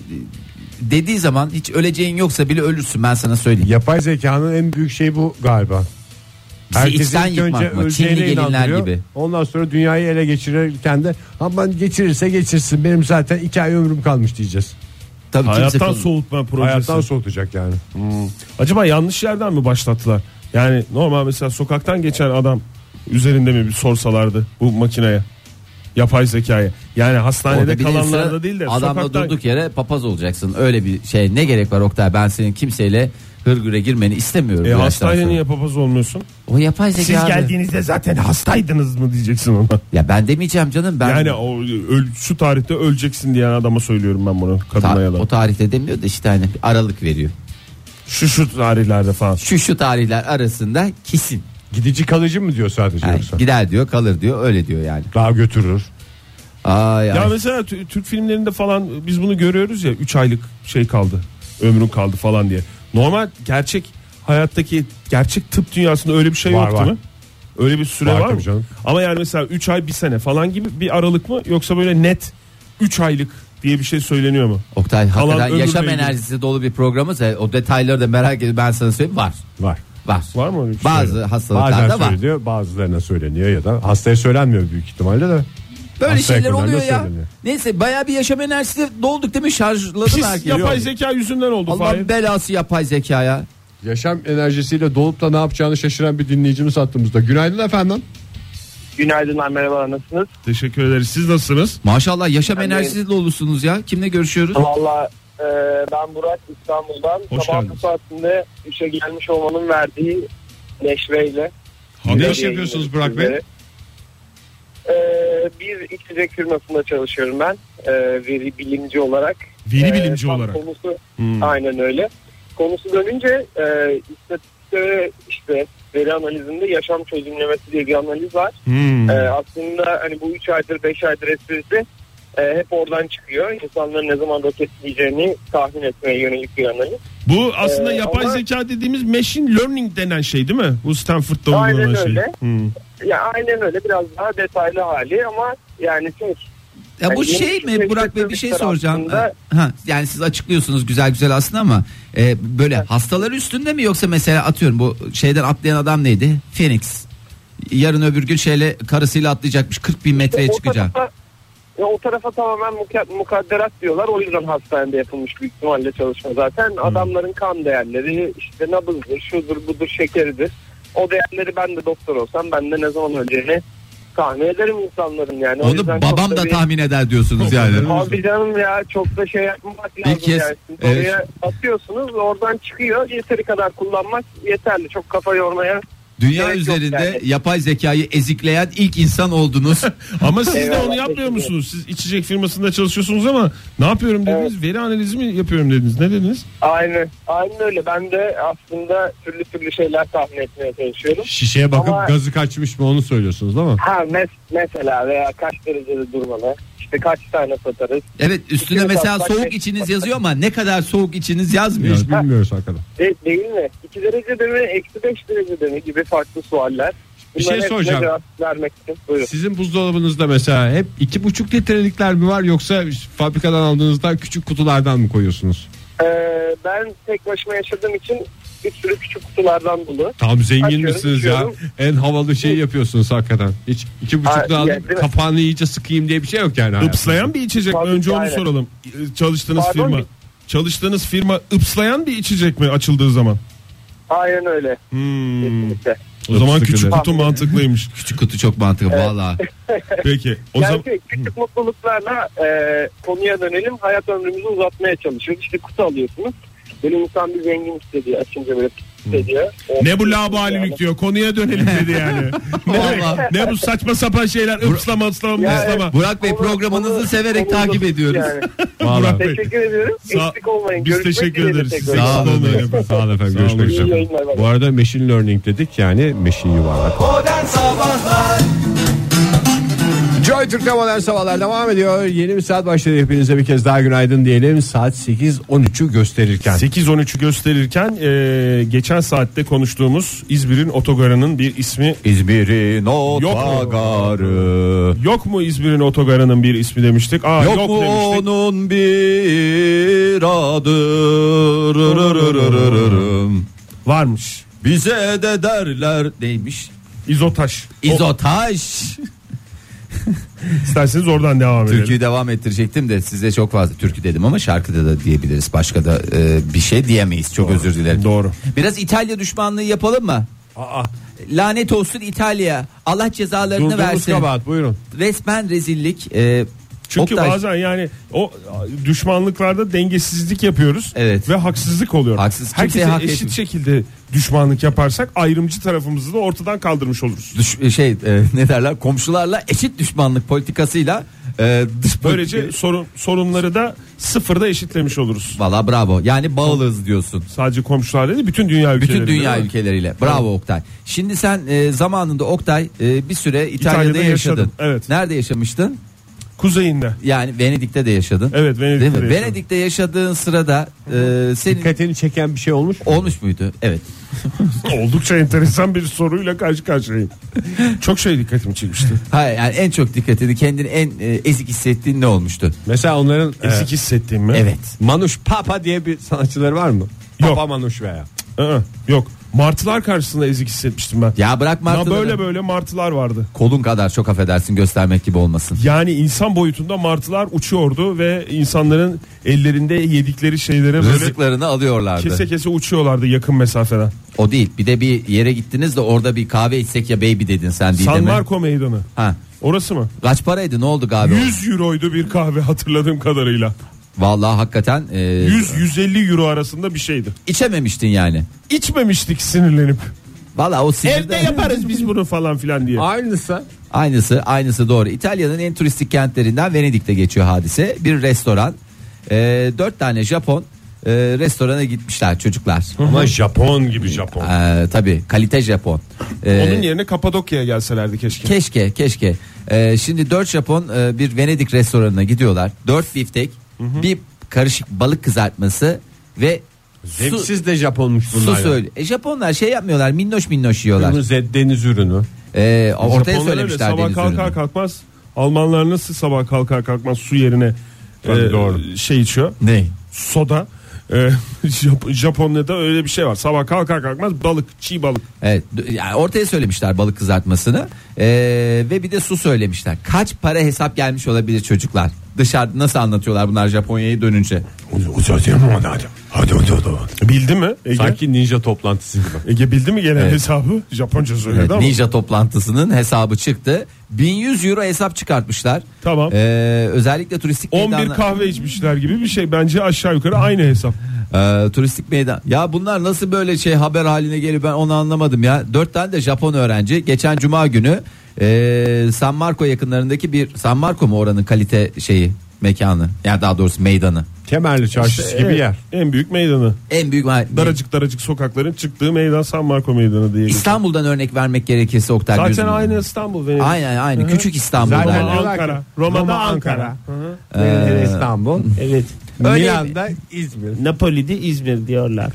S5: dediği zaman hiç öleceğin yoksa bile ölürsün ben sana söyleyeyim.
S3: Yapay zekanın en büyük şeyi bu galiba.
S5: Bizi içten yıkmak mı?
S3: öleceğine
S5: Çinli gelinler
S3: inandırıyor.
S5: gibi.
S3: Ondan sonra dünyayı ele geçirirken de aman geçirirse geçirsin benim zaten iki ay ömrüm kalmış diyeceğiz.
S5: Tabii kimse
S4: Hayattan
S5: konu-
S4: soğutma projesi.
S3: Hayattan soğutacak yani.
S4: Acaba yanlış yerden mi başlattılar? Yani normal mesela sokaktan geçen adam üzerinde mi bir sorsalardı bu makineye? Yapay zekaya. Yani hastanede
S5: Orada bir de
S4: kalanlarda
S5: sıra
S4: değil de
S5: adamla
S4: sokakta
S5: durduk yere papaz olacaksın. Öyle bir şey ne gerek var Oktay? Ben senin kimseyle hırgüre girmeni istemiyorum. bu
S4: E,
S5: yaştan
S4: hastayla
S5: sonra.
S4: niye papaz olmuyorsun?
S5: O yapay zeka.
S4: Siz
S5: abi.
S4: geldiğinizde zaten hastaydınız mı diyeceksin ona.
S5: Ya ben demeyeceğim canım ben.
S4: Yani o öl- şu tarihte öleceksin diyen adama söylüyorum ben bunu
S5: Ta-
S4: kadına ya da.
S5: o tarihte demiyor da işte hani bir aralık veriyor.
S4: Şu şu tarihlerde falan.
S5: Şu şu tarihler arasında kesin.
S3: Gidici kalıcı mı diyor sadece
S5: Yani
S3: yoksa?
S5: gider diyor, kalır diyor, öyle diyor yani.
S3: Daha götürür.
S5: Ay,
S4: Ya
S5: ay.
S4: mesela t- Türk filmlerinde falan biz bunu görüyoruz ya 3 aylık şey kaldı. Ömrün kaldı falan diye. Normal gerçek hayattaki gerçek tıp dünyasında öyle bir şey
S3: Var,
S4: yoktu
S3: var.
S4: mu? Öyle bir süre
S3: Var
S4: var,
S3: tabii
S4: mı?
S3: canım.
S4: Ama yani mesela 3 ay bir sene falan gibi bir aralık mı yoksa böyle net 3 aylık diye bir şey söyleniyor mu?
S5: Oktay
S4: Kalan
S5: hakikaten
S4: ömürle
S5: yaşam
S4: ilgili.
S5: enerjisi dolu bir programımız. E, O detayları da merak ediyorum. Ben sana söyleyeyim var.
S3: Var.
S5: Var.
S4: Var mı öyle bir şey?
S5: Bazı
S3: Bazen
S5: hastalıklarda var.
S3: söyleniyor bazılarına söyleniyor ya da hastaya söylenmiyor büyük ihtimalle de.
S5: Böyle
S3: Hastaya
S5: şeyler
S3: kadar da
S5: oluyor ya.
S3: söyleniyor.
S5: Neyse bayağı bir yaşam enerjisi dolduk değil mi? Şarjladık
S4: Pis
S5: herkesi.
S4: yapay zeka yüzünden oldu Fahir.
S5: Allah belası yapay zekaya.
S3: Yaşam enerjisiyle dolup da ne yapacağını şaşıran bir dinleyicimiz hattımızda. Günaydın efendim.
S6: Günaydınlar merhaba nasılsınız?
S4: Teşekkür ederiz. Siz nasılsınız?
S5: Maşallah yaşam
S6: Ben de-
S5: enerjisi dolusunuz ya. Kimle görüşüyoruz?
S6: Valla e, ben Burak İstanbul'dan
S4: Hoş
S6: sabah bu
S4: geldiniz.
S6: saatinde işe gelmiş olmanın verdiği neşveyle.
S3: Ne
S6: Nereye
S3: iş yapıyorsunuz
S6: gidiyoruz
S3: Burak Bey?
S6: sizlere? E, bir içecek firmasında çalışıyorum ben e, veri bilimci olarak.
S4: Veri
S6: E,
S4: bilimci
S6: tam
S4: olarak.
S6: Konusu,
S4: Hmm.
S6: Aynen öyle. Konusu dönünce e, istatistikte ve işte veri analizinde yaşam çözümlemesi diye bir analiz var.
S4: Hmm.
S6: Ee, aslında hani bu 3 aydır 5 aydır esprisi e, hep oradan çıkıyor. İnsanların ne zaman roketleyeceğini tahmin etmeye yönelik bir analiz.
S4: Bu aslında
S6: Ee,
S4: yapay
S6: ama-
S4: zeka dediğimiz machine learning denen şey değil mi? Bu Stanford'da
S6: Aynen
S4: uygulanan şey.
S6: öyle.
S4: Hmm.
S6: Ya aynen öyle biraz daha detaylı hali ama yani şey, çünkü
S5: Ya bu
S6: Yani yeni
S5: şey mi
S6: keşfettiğimiz
S5: Burak Bey bir şey
S6: tarafında-
S5: soracağım. Ha, yani siz açıklıyorsunuz güzel güzel aslında ama e, böyle hastalar üstünde mi yoksa mesela atıyorum bu şeyden atlayan adam neydi? Phoenix. Yarın öbür gün şeyle karısıyla atlayacakmış 40 bin metreye Şey çıkacak.
S6: tarafa, ya o tarafa tamamen muka- mukadderat diyorlar. O yüzden hastanede yapılmış büyük ihtimalle çalışma zaten. Adamların kan değerleri işte nabızdır, şudur budur, şekeridir. O değerleri ben de doktor olsam ben de ne zaman öleceğini tahmin ederim insanların yani. O yüzden
S5: Onu
S6: çok
S5: babam da
S6: bir-
S5: tahmin eder diyorsunuz yani.
S6: Abi canım ya çok da şey yapmamak lazım
S5: kez,
S6: yani. Siz
S5: evet.
S6: Oraya atıyorsunuz oradan çıkıyor. Yeteri kadar kullanmak yeterli. Çok kafa yormaya.
S5: Dünya
S6: gerek yok
S5: üzerinde
S6: yani.
S5: yapay zekayı ezikleyen ilk insan oldunuz.
S4: Ama siz de
S6: Eyvallah,
S4: onu yapmıyor
S6: teşekkür
S4: musunuz? Siz içecek firmasında çalışıyorsunuz ama ne yapıyorum dediniz? Veri analizi mi yapıyorum dediniz? Ne dediniz?
S6: Aynen. Aynen öyle. Ben de aslında türlü türlü şeyler tahmin etmeye çalışıyorum.
S3: Şişeye bakıp
S6: Ama-
S3: gazı kaçmış mı onu söylüyorsunuz değil mi?
S6: Ha mes- mesela veya kaç derecede durmalı. İşte kaç tane satarız.
S5: Evet üstüne
S6: İkimiz
S5: mesela
S6: hatta
S5: soğuk
S6: şey-
S5: içiniz yazıyor ama ne kadar soğuk içiniz yazmıyor.
S3: Hiç bilmiyoruz hakikaten.
S6: De- değil mi? 2 derecede mi? Eksi 5 derecede mi? Gibi farklı sualler.
S3: Bir şey
S6: Bunların hepsine
S3: soracağım.
S6: Cevap vermek için. Buyurun.
S3: Sizin buzdolabınızda mesela hep iki buçuk litrelikler mi var yoksa fabrikadan aldığınızda küçük kutulardan mı koyuyorsunuz?
S6: Ee, ben tek başıma yaşadığım için bir sürü küçük kutulardan dolu.
S3: Tam zengin
S6: Açıyorum,
S3: misiniz
S6: içiyorum.
S3: ya? En havalı şeyi yapıyorsunuz hakikaten. Hiç iki
S6: Ha,
S3: buçuk
S6: ya,
S3: alıp
S6: değil mi?
S3: kapağını iyice sıkayım diye bir şey yok yani. hayatınızda.
S4: Ipslayan bir içecek mi?
S6: Tabii,
S4: Önce onu
S6: aynen.
S4: soralım. Ee, Çalıştığınız
S6: Pardon
S4: firma.
S6: mi?
S4: Çalıştığınız firma ıpslayan bir içecek mi açıldığı zaman?
S6: Aynen öyle.
S4: Hmm.
S6: Kesinlikle.
S4: O zaman
S3: Çok
S4: küçük
S3: sıkıcı.
S4: kutu mantıklıymış.
S5: Küçük kutu çok mantıklı valla.
S4: Peki. O
S6: Gerçi
S4: zaman
S6: şey,
S4: Hmm.
S6: küçük mutluluklarla e, konuya dönelim. Hayat ömrümüzü uzatmaya çalışıyoruz. İşte kutu alıyorsunuz. Böyle insan bir zengin hissediyor. Açınca böyle hissediyor. O-
S4: Hmm. ne bu labalilik diyor. Konuya dönelim dedi yani. ne,
S5: Vallahi.
S4: ne bu saçma sapan şeyler ıpslama ıslama
S6: Ya,
S4: ıslama.
S5: Burak Bey
S6: Konu-
S5: programınızı
S6: konu-
S5: severek
S6: konu
S5: takip
S6: uzatıyor
S5: ediyoruz.
S6: yani.
S3: Vallahi.
S6: teşekkür ediyorum.
S4: Sağ-
S6: Eksik olmayın.
S4: Biz
S6: Görüşmek
S4: teşekkür
S6: dileğiyle
S4: ederiz.
S6: tekrar.
S4: Sağ
S3: Sağ olun
S4: Sağ olun
S3: efendim. Sağ olun efendim.
S4: Sağ olun.
S3: Görüşmek
S6: İyi
S3: üzere.
S6: yayınlar.
S3: Bu arada machine learning dedik yani machine yuvarlak.
S2: Modern Sabahlar
S3: Joy Türk'te modern sabahlar devam ediyor. Yeni bir saat başladı. Hepinize bir kez daha günaydın diyelim. Saat 8.13'ü gösterirken.
S4: 8-13'ü gösterirken e, geçen saatte konuştuğumuz İzmir'in otogarının bir ismi
S5: İzmir'in
S4: otogarı. yok mu İzmir'in otogarının bir ismi demiştik. Aa, yok,
S5: Yok, mu
S4: demiştik.
S5: onun bir adı rı rı rı rı rı rı rı.
S4: Varmış.
S5: Bize de derler neymiş?
S4: İzotaş. O,
S5: İzotaş.
S4: isterseniz oradan devam edelim.
S5: Türküyü devam ettirecektim de size çok fazla türkü dedim ama şarkıda da diyebiliriz. Başka da e, bir şey diyemeyiz. Çok özür dilerim.
S4: Doğru.
S5: Biraz İtalya düşmanlığı yapalım mı?
S3: Aa,
S5: Lanet olsun İtalya. Allah cezalarını
S3: durduğumuz
S5: versin.
S3: kabahat buyurun.
S5: Resmen rezillik. Ee,
S4: Çünkü
S5: Oktay,
S4: bazen yani o düşmanlıklarda dengesizlik yapıyoruz
S5: Evet.
S4: ve haksızlık oluyor.
S5: Haksız, kimseye
S4: Herkese
S5: hak
S4: eşit
S5: etmiyor.
S4: şekilde düşmanlık yaparsak ayrımcı tarafımızı da ortadan kaldırmış oluruz.
S5: düş- şey e, ne derler komşularla eşit düşmanlık politikasıyla e, dış
S4: Böylece
S5: politika-
S4: sorun sorunları da sıfırda eşitlemiş oluruz.
S5: Valla bravo. Yani bağlıyız diyorsun.
S4: Sadece komşular değil bütün dünya ülkeleri.
S5: Bütün dünya
S4: değil mi?
S5: ülkeleriyle. Bravo Oktay. Şimdi sen e, zamanında Oktay e, bir süre İtalya'da,
S4: İtalya'da
S5: yaşadın.
S4: yaşadım, evet.
S5: Nerede yaşamıştın?
S4: Kuzeyinde.
S5: Yani Venedik'te de yaşadın.
S4: Evet, Venedik'te
S5: Değil mi?
S4: de yaşadım.
S5: Venedik'te yaşadığın sırada e, senin
S3: Dikkatini çeken bir şey olmuş. mu?
S5: olmuş muydu? Evet.
S4: Oldukça enteresan bir soruyla karşı karşıyayım. Çok şey dikkatimi çekmişti.
S5: Hayır yani en çok dikkatini kendini en e, ezik hissettiğin ne olmuştu?
S3: Mesela onların
S4: Ezik
S3: e,
S4: hissettiğim mi?
S5: Evet.
S3: Manuş Papa diye bir sanatçıları var mı?
S4: Yok.
S3: Papa Manuş veya.
S4: Aa, yok. Martılar karşısında ezik hissetmiştim ben.
S5: Ya bırak
S4: Ya
S5: martıları.
S4: böyle böyle martılar vardı.
S5: Kolun kadar çok affedersin göstermek gibi olmasın.
S4: Yani insan boyutunda martılar uçuyordu ve insanların ellerinde yedikleri şeylere böyle
S5: Rızıklarını alıyorlardı.
S4: kese kese uçuyorlardı yakın mesafeden.
S5: O değil. Bir de bir yere gittiniz de orada bir kahve içsek ya baby dedin sen değil
S4: San
S5: mi?
S4: Marco meydanı.
S5: Ha.
S4: Orası mı?
S5: Kaç paraydı ne oldu abi?
S4: 100 euroydu bir kahve hatırladığım kadarıyla.
S5: Vallahi hakikaten e,
S4: 100-150 euro arasında bir şeydi.
S5: içememiştin yani.
S4: İçmemiştik sinirlenip.
S5: Vallahi o sinirden-
S4: Evde yaparız biz bunu falan filan diye.
S3: Aynısı.
S5: Aynısı aynısı doğru. İtalya'nın en turistik kentlerinden Venedik'te geçiyor hadise. Bir restoran. E, dört tane Japon e, restorana gitmişler çocuklar.
S3: Ama Japon gibi Japon.
S5: E, tabii kalite Japon. E,
S4: Onun yerine Kapadokya'ya gelselerdi keşke.
S5: Keşke keşke. Ee, şimdi 4 Japon e, bir Venedik restoranına gidiyorlar. 4 biftek, bir karışık balık kızartması ve su,
S3: Zevksiz de Japonmuş
S5: su
S3: bunlar. ya.
S5: söyle. E, Japonlar şey yapmıyorlar minnoş minnoş yiyorlar.
S3: Kırmızı deniz ürünü.
S5: Ee, ortaya
S4: Japonlar öyle
S5: söylemişler
S4: sabah
S5: deniz
S4: kalkar
S5: ürünü.
S4: kalkmaz. Almanlar nasıl sabah kalkar kalkmaz su yerine
S3: Tabii
S4: e,
S3: doğru.
S4: şey içiyor.
S5: Ne?
S4: soda. E, Jap- Japonya'da öyle bir şey var. Sabah kalkar kalkmaz balık, çiğ balık.
S5: Evet, d- yani ortaya söylemişler balık kızartmasını Ee, ve bir de su söylemişler. Kaç para hesap gelmiş olabilir çocuklar? Dışarıda nasıl anlatıyorlar bunlar Japonya'ya dönünce?
S4: Bildi mi Ege?
S3: Sanki ninja toplantısı gibi.
S4: Ege bildi mi genel
S5: Evet.
S4: hesabı? Japonca söyledi
S5: Evet,
S4: ama.
S5: Ninja toplantısının hesabı çıktı. 1100 euro hesap çıkartmışlar.
S4: Tamam.
S5: Ee, özellikle turistik
S4: 11
S5: meydanlar-
S4: kahve içmişler gibi bir şey. Bence aşağı yukarı aynı hesap.
S5: Ee, turistik meydan. Ya bunlar nasıl böyle şey haber haline geliyor ben onu anlamadım ya. Dört tane de Japon öğrenci geçen cuma günü ee, San Marco yakınlarındaki bir San Marco mu oranın kalite şeyi mekanı. Yani daha doğrusu meydanı.
S3: Kemerli çarşısı gibi
S4: Evet,
S3: yer.
S4: En büyük meydanı.
S5: En büyük me-
S4: Daracık daracık sokakların çıktığı meydan San Marco meydanı diye. geçiyor.
S5: İstanbul'dan örnek vermek gerekirse Oktay
S4: Zaten
S5: gözümün-
S4: aynı İstanbul. Venedik.
S5: Aynen aynı.
S4: Hı.
S5: Küçük İstanbul'da.
S3: Zaten
S4: Roma,
S3: diyorlar ki,
S4: Ankara. Roma'da Ankara.
S3: Venedik'te İstanbul. Evet.
S5: Öyle
S3: Milan'da İzmir.
S4: Napoli'de İzmir diyorlar.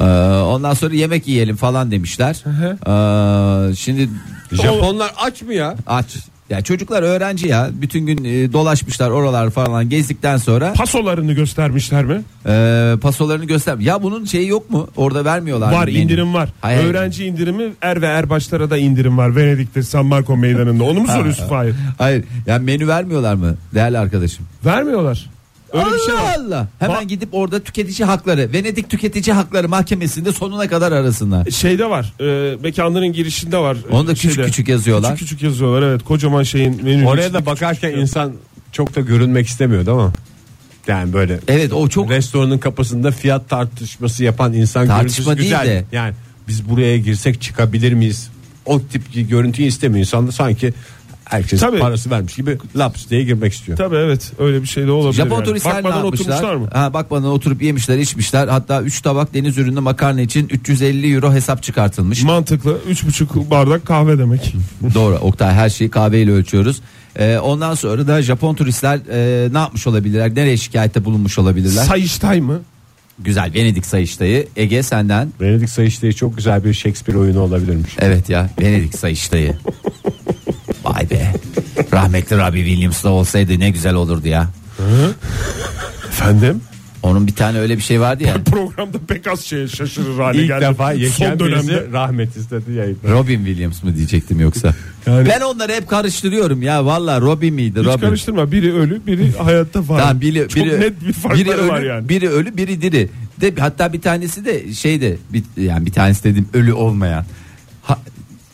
S5: Ee, ondan sonra yemek yiyelim falan demişler. Ee, şimdi
S3: Japonlar aç mı ya?
S5: aç. Ya çocuklar öğrenci ya. Bütün gün e, dolaşmışlar oralar falan gezdikten sonra
S4: Pasolarını göstermişler mi?
S5: e, pasolarını göster. Ya bunun şeyi yok mu? Orada vermiyorlar.
S4: Var
S5: mı menü?
S4: indirim var.
S5: Hayır.
S4: Öğrenci indirimi er ve erbaşlara da indirim var. Venedik'te San Marco meydanında. Onu mu soruyorsun Fahir?
S5: Hayır. Ya menü vermiyorlar mı değerli arkadaşım?
S4: Vermiyorlar. Öyle
S5: Allah
S4: bir şey var.
S5: Allah. Hemen
S4: Ba-
S5: gidip orada tüketici hakları, Venedik tüketici hakları mahkemesinde sonuna kadar arasınlar.
S4: Şeyde var. E, mekanların girişinde var.
S5: Onu da
S4: E,
S5: küçük
S4: şeyde.
S5: küçük yazıyorlar.
S4: Küçük küçük yazıyorlar evet. Kocaman şeyin menü.
S3: Oraya da bakarken insan çok da görünmek istemiyor değil mi? Yani böyle
S5: Evet o E, çok
S3: restoranın kapısında fiyat tartışması yapan insan
S5: Tartışma
S3: görüntüsü
S5: değil
S3: güzel.
S5: de-
S3: Yani biz buraya girsek çıkabilir miyiz? O tip görüntüyü istemiyor. İnsan da sanki herkes
S4: Tabii.
S3: parası vermiş gibi laps diye girmek istiyor.
S4: Tabii evet öyle bir şey de olabilir.
S5: Japon
S4: yani.
S5: turistler ne
S4: Bakmadan
S5: yapmışlar?
S4: oturmuşlar mı?
S5: Ha, bakmadan oturup yemişler içmişler. Hatta 3 tabak deniz ürünlü makarna için 350 euro hesap çıkartılmış.
S4: Mantıklı. Üç buçuk bardak kahve demek.
S5: Doğru Oktay her şeyi kahveyle ölçüyoruz. Ee, ondan sonra da Japon turistler e, ne yapmış olabilirler? Nereye şikayette bulunmuş olabilirler?
S4: Sayıştay mı?
S5: Güzel Venedik Sayıştayı. Ege senden.
S3: Venedik Sayıştay'ı çok güzel bir Shakespeare oyunu olabilirmiş.
S5: Evet ya Venedik Sayıştayı. Vay be. Rahmetli Robbie Williams da olsaydı ne güzel olurdu ya.
S4: Efendim?
S5: Onun bir tane öyle bir şey vardı ya.
S4: Programda pek az şeye şaşırır hale
S3: İlk
S4: geldi.
S3: defa yaşayan
S4: Son dönemde.
S3: birisi rahmet istedi yayında.
S5: Robin Williams mı diyecektim yoksa.
S4: Yani-
S5: Ben onları hep karıştırıyorum ya. Valla Robin miydi?
S4: Hiç
S5: Robin.
S4: karıştırma. Biri ölü, biri hayatta var.
S5: Tamam, biri,
S4: Çok
S5: biri-
S4: net bir farkları
S5: biri ölü,
S4: var yani.
S5: Biri ölü şey biri diri. De, hatta bir tanesi de şeyde bir, yani bir tanesi dediğim ölü olmayan.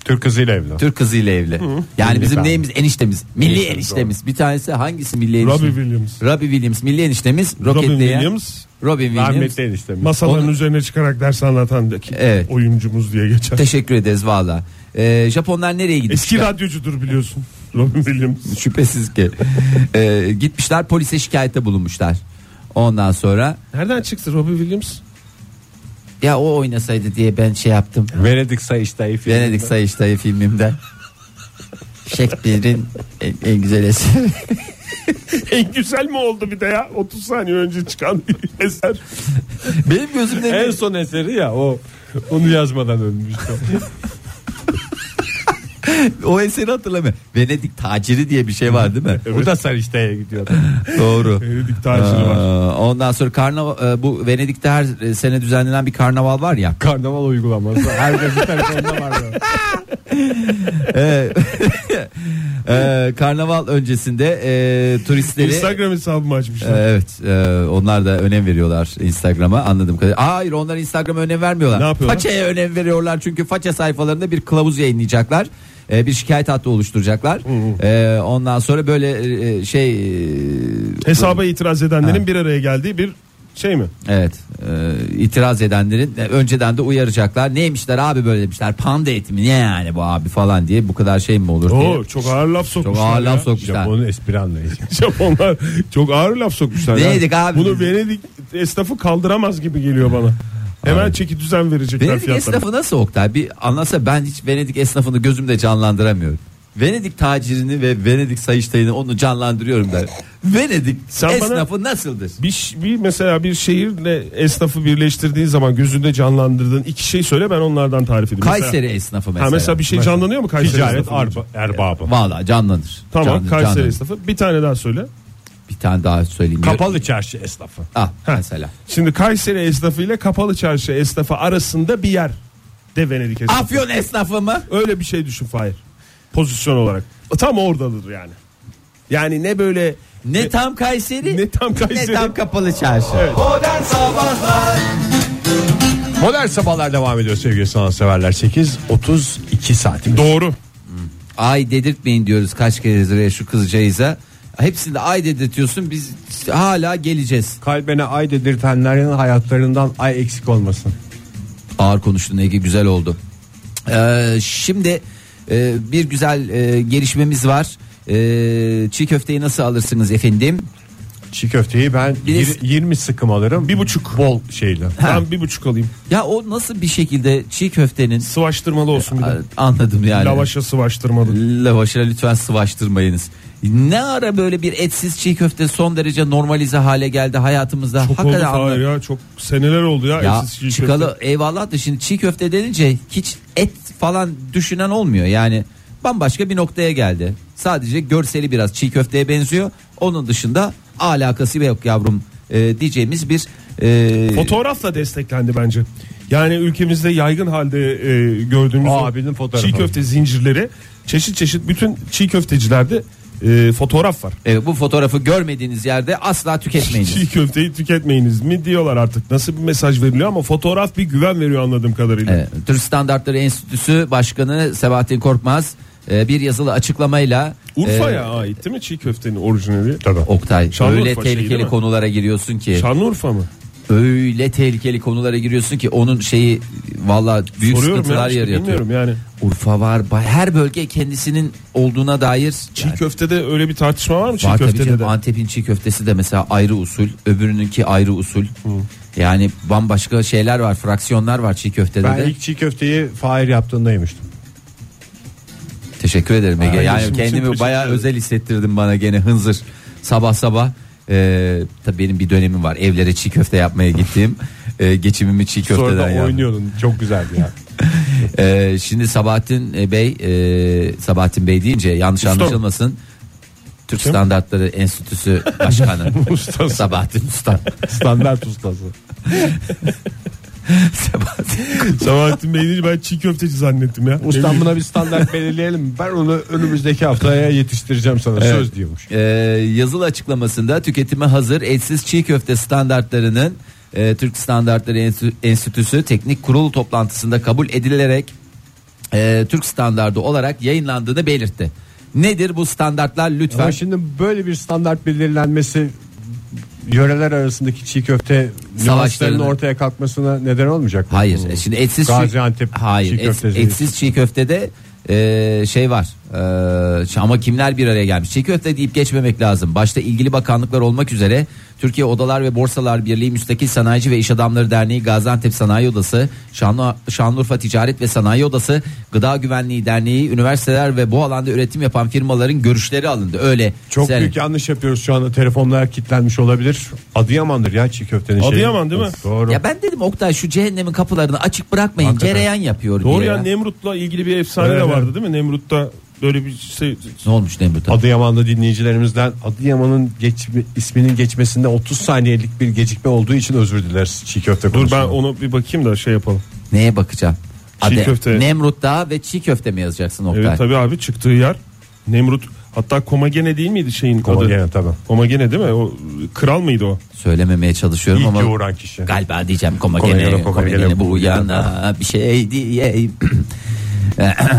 S3: Türk kızıyla evli.
S5: Türk kızıyla evli. Yani bizim
S3: Efendim.
S5: neyimiz eniştemiz. Milli eniştemiz. Bir tanesi hangisi milli eniştemiz?
S4: Robbie Williams.
S5: Robbie Williams milli eniştemiz. Robin
S4: Robin
S5: Williams.
S4: Williams
S5: Robin Williams.
S3: Rahmetli eniştemiz.
S4: masaların
S5: Onu-
S4: üzerine çıkarak ders anlatan da ki-
S5: Evet.
S4: oyuncumuz diye geçer.
S5: Teşekkür ederiz valla. Ee, Japonlar nereye gidiyor?
S4: Eski radyocudur biliyorsun. Robin Williams.
S5: Şüphesiz ki. Ee, gitmişler polise şikayette bulunmuşlar. Ondan sonra
S4: Nereden çıktı Robin Williams?
S5: ya o oynasaydı diye ben şey yaptım.
S3: Venedik Sayıştay filminde.
S5: Venedik Sayıştay'ı filmimde. Shakespeare'in en, en güzel eseri.
S4: En güzel mi oldu bir de ya? 30 saniye önce çıkan bir eser.
S5: Benim gözümde
S3: En son eseri ya o. Onu yazmadan ölmüş.
S5: o eseri hatırlamıyorum. Venedik taciri diye bir şey var değil mi?
S3: O da Sarıştay'a gidiyor.
S5: Doğru.
S4: Venedik taciri var.
S5: Ee, Ondan sonra karnaval e, bu Venedik'te her e, sene düzenlenen bir karnaval var ya.
S3: Karnaval uygulaması. Herkesin telefonunda var. ya.
S5: Ee, karnaval öncesinde e, turistleri
S4: Instagram hesabımı
S5: Ee,
S4: açmışlar.
S5: Evet, e, onlar da önem veriyorlar Instagram'a anladığım kadarıyla. Hayır, onlar Instagram'a önem vermiyorlar.
S4: Ne yapıyorlar?
S5: Façaya önem veriyorlar çünkü faça sayfalarında bir kılavuz yayınlayacaklar. Ee, bir şikayet hattı oluşturacaklar. Ee, ondan sonra böyle e, şey e,
S4: Hesaba itiraz edenlerin bir araya geldiği bir şey mi?
S5: Evet e, itiraz edenlerin e, önceden de uyaracaklar. Neymişler abi böyle demişler. Panda eti mi ne yani bu abi falan diye bu kadar şey mi olur diye.
S4: Oo, çok ağır laf
S5: Çok
S4: sokmuşlar.
S5: ağır
S4: ya.
S5: laf sokmuşlar.
S3: Japon'un espri anlayışı.
S4: Japonlar çok ağır laf sokmuşlar. ya.
S5: Venedik abi.
S4: Bunu Venedik esnafı kaldıramaz gibi geliyor bana. Hemen çeki düzen verecekler
S5: Venedik
S4: fiyatlara.
S5: esnafı nasıl Oktay? Bir anlatsa ben hiç Venedik esnafını gözümde canlandıramıyorum. Venedik tacirini ve Venedik sayıştayını onu canlandırıyorum da. Venedik
S4: Sen bana-
S5: esnafı nasıldır?
S4: Bir, ş- bir mesela bir şehirle esnafı birleştirdiğin zaman gözünde canlandırdığın iki şey söyle ben onlardan tarif edeyim. Mesela-
S5: Kayseri esnafı mesela.
S4: Ha mesela bir şey canlanıyor mu Kayseri
S3: Ticaret
S4: esnafı?
S3: arba, erbabı.
S5: Valla canlanır.
S4: Tamam
S5: Canlı-
S4: Kayseri
S5: canlanır.
S4: esnafı. Bir tane daha söyle.
S5: Bir tane daha söyleyeyim.
S3: Kapalı çarşı esnafı.
S5: Ah,
S4: Heh.
S5: mesela.
S4: Şimdi Kayseri esnafı ile Kapalı Çarşı esnafı arasında bir yer de Venedik esnafı.
S5: Afyon esnafı mı?
S4: Öyle bir şey düşün Fahir. Pozisyon olarak. Tam oradadır yani. Yani ne böyle
S5: Ne tam Kayseri?
S4: ne tam Kayseri.
S5: Ne tam kapalı çarşı?
S2: Modern Sabahlar
S3: Modern sabahlar devam ediyor sevgili sanatseverler. 8.32 saatimiz.
S4: Doğru.
S5: Ay dedirtmeyin diyoruz kaç kere zirveye şu kızcağıza. Hepsinde ay dedirtiyorsun biz hala geleceğiz.
S3: Kalbine ay dedirtenlerin hayatlarından ay eksik olmasın.
S5: Ağır konuştun Ege güzel oldu. Ee, şimdi e, bir güzel e, gelişmemiz var. Ee, çiğ köfteyi nasıl alırsınız efendim?
S3: Çiğ köfteyi ben
S5: Biz-
S3: yir- 20 sıkım alırım. Bir buçuk bol şeyle.
S4: Ben bir buçuk alayım.
S5: Ya o nasıl bir şekilde çiğ köftenin
S4: Sıvaştırmalı olsun bir de.
S5: A- anladım yani.
S4: Lavaşa sıvaştırmalı.
S5: Lavaşa lütfen sıvaştırmayınız. Ne ara böyle bir etsiz çiğ köfte son derece normalize hale geldi hayatımızda.
S4: Çok oldu
S5: Hakikaten
S4: Fahir
S5: anlamıyorum.
S4: ya. Çok seneler oldu ya.
S5: Ya
S4: etsiz çiğ köfte.
S5: çıkalı eyvallah da şimdi çiğ köfte denince hiç et falan düşünen olmuyor. Yani bambaşka bir noktaya geldi. Sadece görseli biraz çiğ köfteye benziyor. Onun dışında alakası yok yavrum e, diyeceğimiz bir e,
S4: Fotoğrafla desteklendi bence. Yani ülkemizde yaygın halde e, gördüğümüz
S3: Aa,
S4: o
S3: abinin fotoğrafı.
S4: çiğ köfte zincirleri çeşit çeşit bütün çiğ köftecilerde e, fotoğraf var.
S5: e, bu fotoğrafı görmediğiniz yerde asla tüketmeyiniz.
S4: Çiğ köfteyi tüketmeyiniz mi diyorlar artık. Nasıl bir mesaj veriliyor ama fotoğraf bir güven veriyor anladığım kadarıyla.
S5: E, Türk Standartları Enstitüsü Başkanı Sebahattin Korkmaz e, bir yazılı açıklamayla
S4: Urfa'ya
S5: e,
S4: ait değil mi çiğ köftenin orijinali? Tabii.
S5: Oktay
S4: Şanlıurfa
S5: öyle
S4: şeyi
S5: tehlikeli
S4: değil mi?
S5: konulara giriyorsun ki.
S4: Şanlıurfa mı?
S5: öyle tehlikeli konulara giriyorsun ki onun şeyi valla büyük
S4: Soruyorum ya
S5: sıkıntılar
S4: işte
S5: yaratıyor.
S4: bilmiyorum yani.
S5: Urfa var, ba- her bölge kendisinin olduğuna dair
S4: Çiğ köftede öyle bir tartışma var mı çiğ
S5: var tabii
S4: köftede
S5: canım.
S4: de?
S5: Antep'in çiğ köftesi de mesela ayrı usul, öbürününki ayrı usul. Yani bambaşka şeyler var, fraksiyonlar var çiğ köftede
S3: Ben
S5: de.
S3: ilk çiğ köfteyi Fahir yaptığında yemiştim.
S5: Teşekkür ederim Ege.
S4: Ay,
S5: Yani
S4: işim için
S5: kendimi
S4: teşekkür
S5: bayağı
S4: ederim.
S5: özel hissettirdin bana gene hınzır sabah sabah. Ee, tabii benim bir dönemim var. Evlere çiğ köfte yapmaya gittiğim. Ee, geçimimi çiğ köfteden
S3: Sonra da
S5: yaptım.
S3: oynuyordun. Çok güzeldi ya.
S5: Ee, şimdi Sabahattin Bey e, Sabahattin Bey deyince yanlış anlaşılmasın. Türk Standartları Enstitüsü Başkanı
S4: Ustası.
S5: Sabahattin Usta.
S3: Standart ustası.
S5: Sabahattin.
S4: Sabahattin Bey deyince ben çiğ köfteci zannettim ya.
S3: Ustam buna bir standart belirleyelim. Ben onu önümüzdeki haftaya yetiştireceğim sana. Söz diyormuş.
S5: Ee, yazılı açıklamasında tüketime hazır etsiz çiğ köfte standartlarının e, Türk Standartları Enstitü- Enstitüsü Teknik Kurulu toplantısında kabul edilerek e, Türk standardı olarak yayınlandığını belirtti. Nedir bu standartlar lütfen?
S3: Ama şimdi böyle bir standart belirlenmesi yöreler arasındaki çiğ köfte savaşlarının ortaya kalkmasına neden olmayacak mı?
S5: Hayır. e, Şimdi etsiz
S3: Hmm. Gaziantep
S5: çiğ, hayır,
S3: çiğ
S5: et-
S3: köftesi.
S5: etsiz çiğ köftede e, şey var. E, ş- ama kimler bir araya gelmiş? Çiğ köfte deyip geçmemek lazım. Başta ilgili bakanlıklar olmak üzere Türkiye Odalar ve Borsalar Birliği Müstakil Sanayici ve İş Adamları Derneği Gaziantep Sanayi Odası, Şanlı, Şanlıurfa Ticaret ve Sanayi Odası, Gıda Güvenliği Derneği, üniversiteler ve bu alanda üretim yapan firmaların görüşleri alındı. Öyle.
S3: Çok
S5: Sen-
S3: büyük yanlış yapıyoruz şu anda telefonlar kilitlenmiş olabilir. Adıyaman'dır ya çiğ köftenin şeyi.
S4: Adıyaman değil mi?
S3: Doğru.
S5: Ya ben dedim Oktay şu cehennemin kapılarını açık bırakmayın.
S3: Hakikaten.
S5: Cereyan yapıyor
S4: Doğru
S5: diye
S4: ya
S5: ya.
S4: Nemrut'la ilgili bir efsane
S3: Evet,
S4: de vardı
S3: evet.
S4: değil mi? Nemrut'ta böyle bir şey
S5: Ne olmuş Nemrut'a?
S3: Adıyaman'da dinleyicilerimizden Adıyaman'ın geçme- isminin geçmesinde 30 saniyelik bir gecikme olduğu için özür dileriz çiğ köfte
S4: Dur ben
S3: konusunda.
S4: onu bir bakayım da şey yapalım.
S5: Neye bakacağım?
S4: Çiğ köfte.
S5: Nemrut Dağı ve çiğ köfte mi yazacaksın Oktay?
S4: Evet tabii abi çıktığı yer Nemrut hatta Komagene değil miydi şeyin
S3: Komagene
S4: adı?
S3: tabii.
S4: Komagene değil mi? O kral mıydı o?
S5: Söylememeye çalışıyorum
S3: İyi
S5: ama
S3: ki uğran kişi.
S5: galiba diyeceğim koma
S3: Koma
S5: gene
S3: gene,
S5: koma
S3: koma
S5: gene
S3: gene
S5: bu
S3: bu
S5: yana bir şey diyeyim.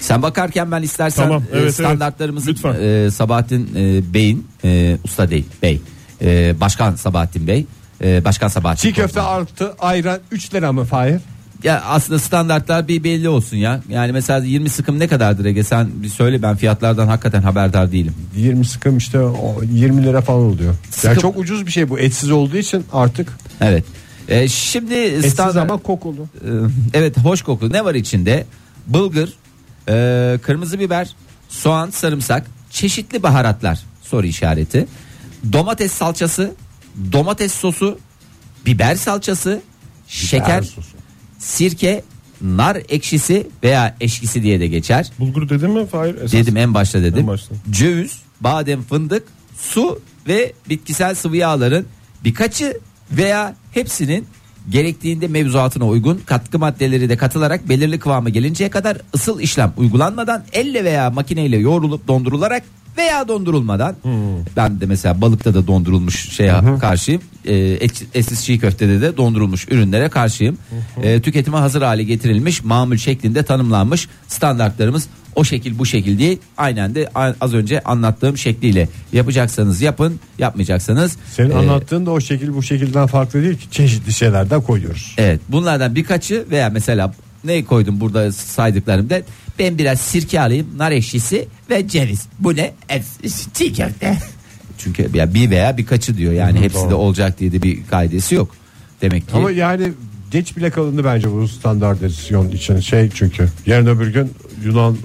S5: Sen bakarken ben istersen
S4: Tamam,
S5: e,
S4: evet, evet.
S5: standartlarımızı
S4: Lütfen.
S5: e, Sabahattin e, Bey'in e, usta değil Bey e, Başkan Sabahattin Bey e, Başkan Sabahattin
S3: Çiğ köfte artı ayran 3 lira mı Fahir?
S5: Ya aslında standartlar bir belli olsun ya. Yani mesela 20 sıkım ne kadardır Ege? Sen bir söyle ben fiyatlardan hakikaten haberdar değilim.
S3: 20 sıkım işte o 20 lira falan oluyor.
S5: Sıkım-
S3: Yani çok ucuz bir şey bu etsiz olduğu için artık
S5: Evet. E, şimdi
S3: etsiz
S5: standart-
S3: ama kokulu.
S5: Ee, evet hoş kokulu ne var içinde? Bulgur, e, kırmızı biber, soğan, sarımsak, çeşitli baharatlar soru işareti. Domates salçası, domates sosu, biber salçası, şeker,
S3: sosu.
S5: sirke, nar ekşisi veya eşkisi diye de geçer.
S4: Bulgur dedim mi? Hayır. esas.
S5: Dedim en başta dedim.
S4: En başta.
S5: Ceviz, badem, fındık, su ve bitkisel sıvı yağların birkaçı veya hepsinin gerektiğinde mevzuatına uygun katkı maddeleri de katılarak belirli kıvama gelinceye kadar ısıl işlem uygulanmadan elle veya makineyle yoğrulup dondurularak veya dondurulmadan
S3: Hmm.
S5: ben de mesela balıkta da dondurulmuş şeye karşıyım Ee, et- etsiz çiğ köftede de dondurulmuş ürünlere karşıyım Ee, tüketime hazır hale getirilmiş mamul şeklinde tanımlanmış standartlarımız o şekil bu şekil değil aynen de a- az önce anlattığım şekliyle yapacaksanız yapın yapmayacaksanız
S3: Senin
S5: e,
S3: anlattığın da o şekil bu şekilden farklı değil ki çeşitli şeylerden koyuyoruz.
S5: Evet bunlardan birkaçı veya mesela ne koydum burada saydıklarımda ben biraz sirke alayım nar ekşisi ve ceviz. Bu ne? Et, çiğ köfte. Çünkü ya bir veya birkaçı diyor yani hepsi de olacak diye de bir kaidesi yok. Demek ki
S3: Ama yani geç bile kalındı bence bu standartizasyon için şey çünkü yarın öbür gün Yunan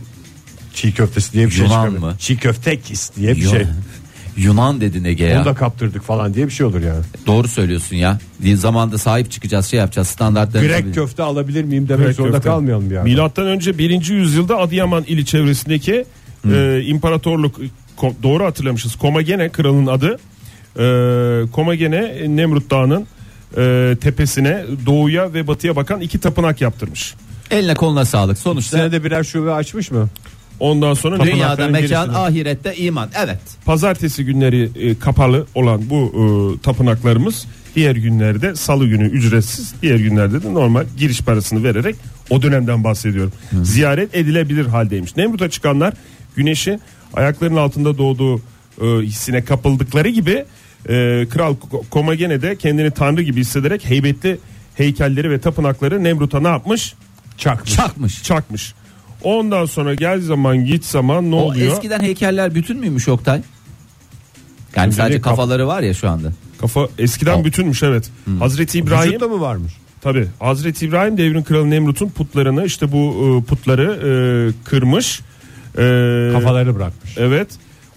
S3: çiğ köftesi diye bir şey
S5: Yunan
S3: çıkabilir.
S5: mı?
S3: Çiğ köftekis diye bir
S5: Yunan-
S3: şey.
S5: Yunan dedin Ege ya.
S3: Onu da kaptırdık falan diye bir şey olur yani.
S5: Doğru söylüyorsun ya. Zamanda sahip çıkacağız şey yapacağız standartları.
S3: Grek köfte alabilir miyim demek zorunda
S4: köfte.
S3: kalmayalım yani.
S4: Milattan önce 1. yüzyılda Adıyaman ili çevresindeki e, imparatorluk ko- doğru hatırlamışız. Komagene kralın adı. E, Komagene e, Nemrut Dağı'nın e, tepesine doğuya ve batıya bakan iki tapınak yaptırmış.
S5: Eline koluna sağlık sonuçta.
S3: Senede birer şube açmış mı?
S4: Ondan sonra
S5: Dünyada
S4: tapınakların
S5: mekan
S4: gerisine-
S5: ahirette iman. Evet.
S4: Pazartesi günleri e, kapalı olan bu e, tapınaklarımız diğer günlerde salı günü ücretsiz diğer günlerde de normal giriş parasını vererek o dönemden bahsediyorum. Ziyaret edilebilir haldeymiş. Nemrut'a çıkanlar güneşi ayaklarının altında doğduğu e, hissine kapıldıkları gibi e, Kral Ko- Komagene de kendini tanrı gibi hissederek heybetli heykelleri ve tapınakları Nemrut'a ne yapmış? Çakmış.
S5: Çakmış.
S4: Çakmış. Ondan sonra gel zaman git zaman ne
S5: O
S4: oluyor?
S5: eskiden heykeller bütün müymüş Oktay? Yani
S4: Şimdi
S5: sadece
S4: bir kaf-
S5: kafaları var ya şu anda.
S4: Kafa eskiden bütünmüş evet. Hazreti İbrahim
S3: Vücutta mı varmış?
S4: tabi Hazreti İbrahim devrin kralı Nemrut'un putlarını işte bu e, putları e, kırmış. E,
S3: Kafaları bırakmış.
S4: Evet.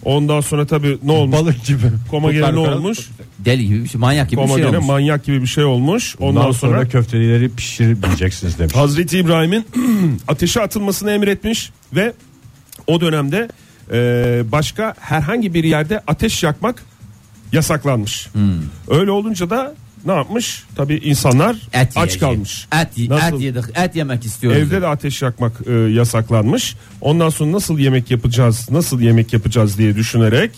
S4: Ondan sonra tabi ne olmuş?
S3: Balık gibi.
S4: Komagene
S3: Putlar
S4: ne
S3: falan.
S4: olmuş?
S5: Deli gibi bir şey, manyak gibi bir
S4: Komagene
S5: şey olmuş.
S4: manyak gibi bir şey olmuş. Ondan,
S3: Ondan
S4: sonra,
S3: sonra köfteleri pişirmeyeceksiniz demiş.
S4: Hazreti İbrahim'in ateşe atılmasını emretmiş ve o dönemde e, başka herhangi bir yerde ateş yakmak yasaklanmış.
S5: Hmm.
S4: Öyle olunca da ne yapmış? Tabi insanlar
S5: et
S4: aç
S5: yiyecek.
S4: kalmış.
S5: Et, ye-
S4: Nasıl?
S5: et yedik, et yemek istiyoruz.
S4: Evde de ateş yakmak e, yasaklanmış. Ondan sonra nasıl yemek yapacağız, nasıl yemek yapacağız diye düşünerek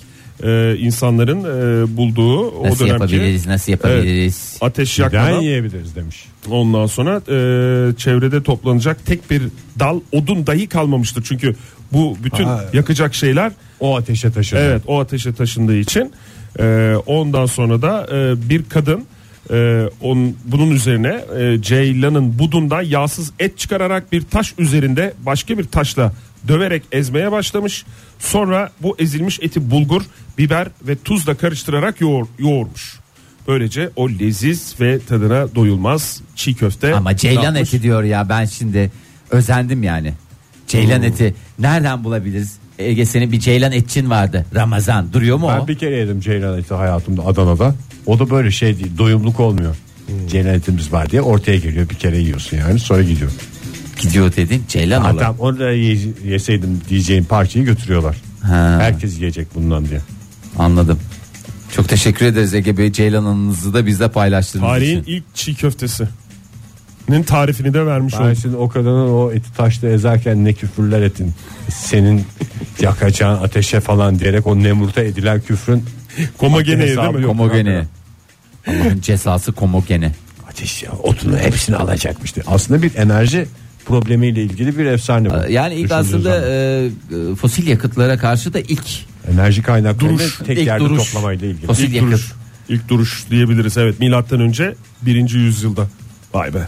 S4: e, insanların e, bulduğu o
S5: Nasıl
S4: dönemki
S5: yapabiliriz? Nasıl yapabiliriz?
S4: ateş
S3: Neden
S4: yakmadan
S3: yiyebiliriz demiş.
S4: Ondan sonra e, çevrede toplanacak tek bir dal odun dahi kalmamıştır. Çünkü bu bütün
S3: Ha.
S4: yakacak şeyler
S3: O ateşe taşıdı.
S4: evet o ateşe taşındığı için e, ondan sonra da e, bir kadın e, onun, bunun üzerine e, Ceylan'ın budundan yağsız et çıkararak bir taş üzerinde başka bir taşla döverek ezmeye başlamış. Sonra bu ezilmiş eti bulgur, biber ve tuzla karıştırarak yoğur, yoğurmuş. Böylece o leziz ve tadına doyulmaz çiğ köfte.
S5: Ama ceylan
S4: yapmış.
S5: eti diyor ya ben şimdi özendim yani. Ceylan eti nereden bulabiliriz? Ege senin bir ceylan etçin vardı. Ramazan duruyor mu o?
S3: Ben bir kere yedim ceylan eti hayatımda Adana'da. O da böyle şey değil doyumluk olmuyor.
S4: Hmm.
S3: Ceylan etimiz var diye ortaya geliyor bir kere yiyorsun yani sonra gidiyor.
S5: Gidiyor dedin ceylan olur.
S3: Hatta onu da ye- yeseydim diyeceğin parçayı götürüyorlar.
S5: Ha.
S3: Herkes yiyecek bundan diye.
S5: Anladım. Çok teşekkür ederiz Ege Bey. Ceylan anınızı da bizle paylaştığınız
S4: Tarihin
S5: için.
S4: ilk çiğ köftesinin tarifini de vermiş
S3: Ben
S4: olduk.
S3: şimdi o kadının o eti taşla ezerken ne küfürler ettin. Senin yakacağın ateşe falan diyerek o nemrute edilen küfrün
S4: Komogene'ye değil
S3: Hesabı
S4: mi? Yok.
S5: Komogene. Allah'ın cezası komogene.
S3: ateş ya otunu hepsini alacakmıştı. Aslında bir enerji problemiyle ilgili bir efsane bu.
S5: Ee, Yani ilk
S3: Düşündüğün
S5: aslında
S3: zaman.
S5: e, e, fosil yakıtlara karşı da ilk
S3: enerji kaynaklarını
S5: duruş,
S3: tek
S5: ilk
S3: yerde
S5: duruş.
S3: toplamayla ilgili.
S5: Fosil
S4: İlk
S5: yakıt.
S4: duruş. İlk duruş diyebiliriz evet milattan önce birinci yüzyılda. Vay be.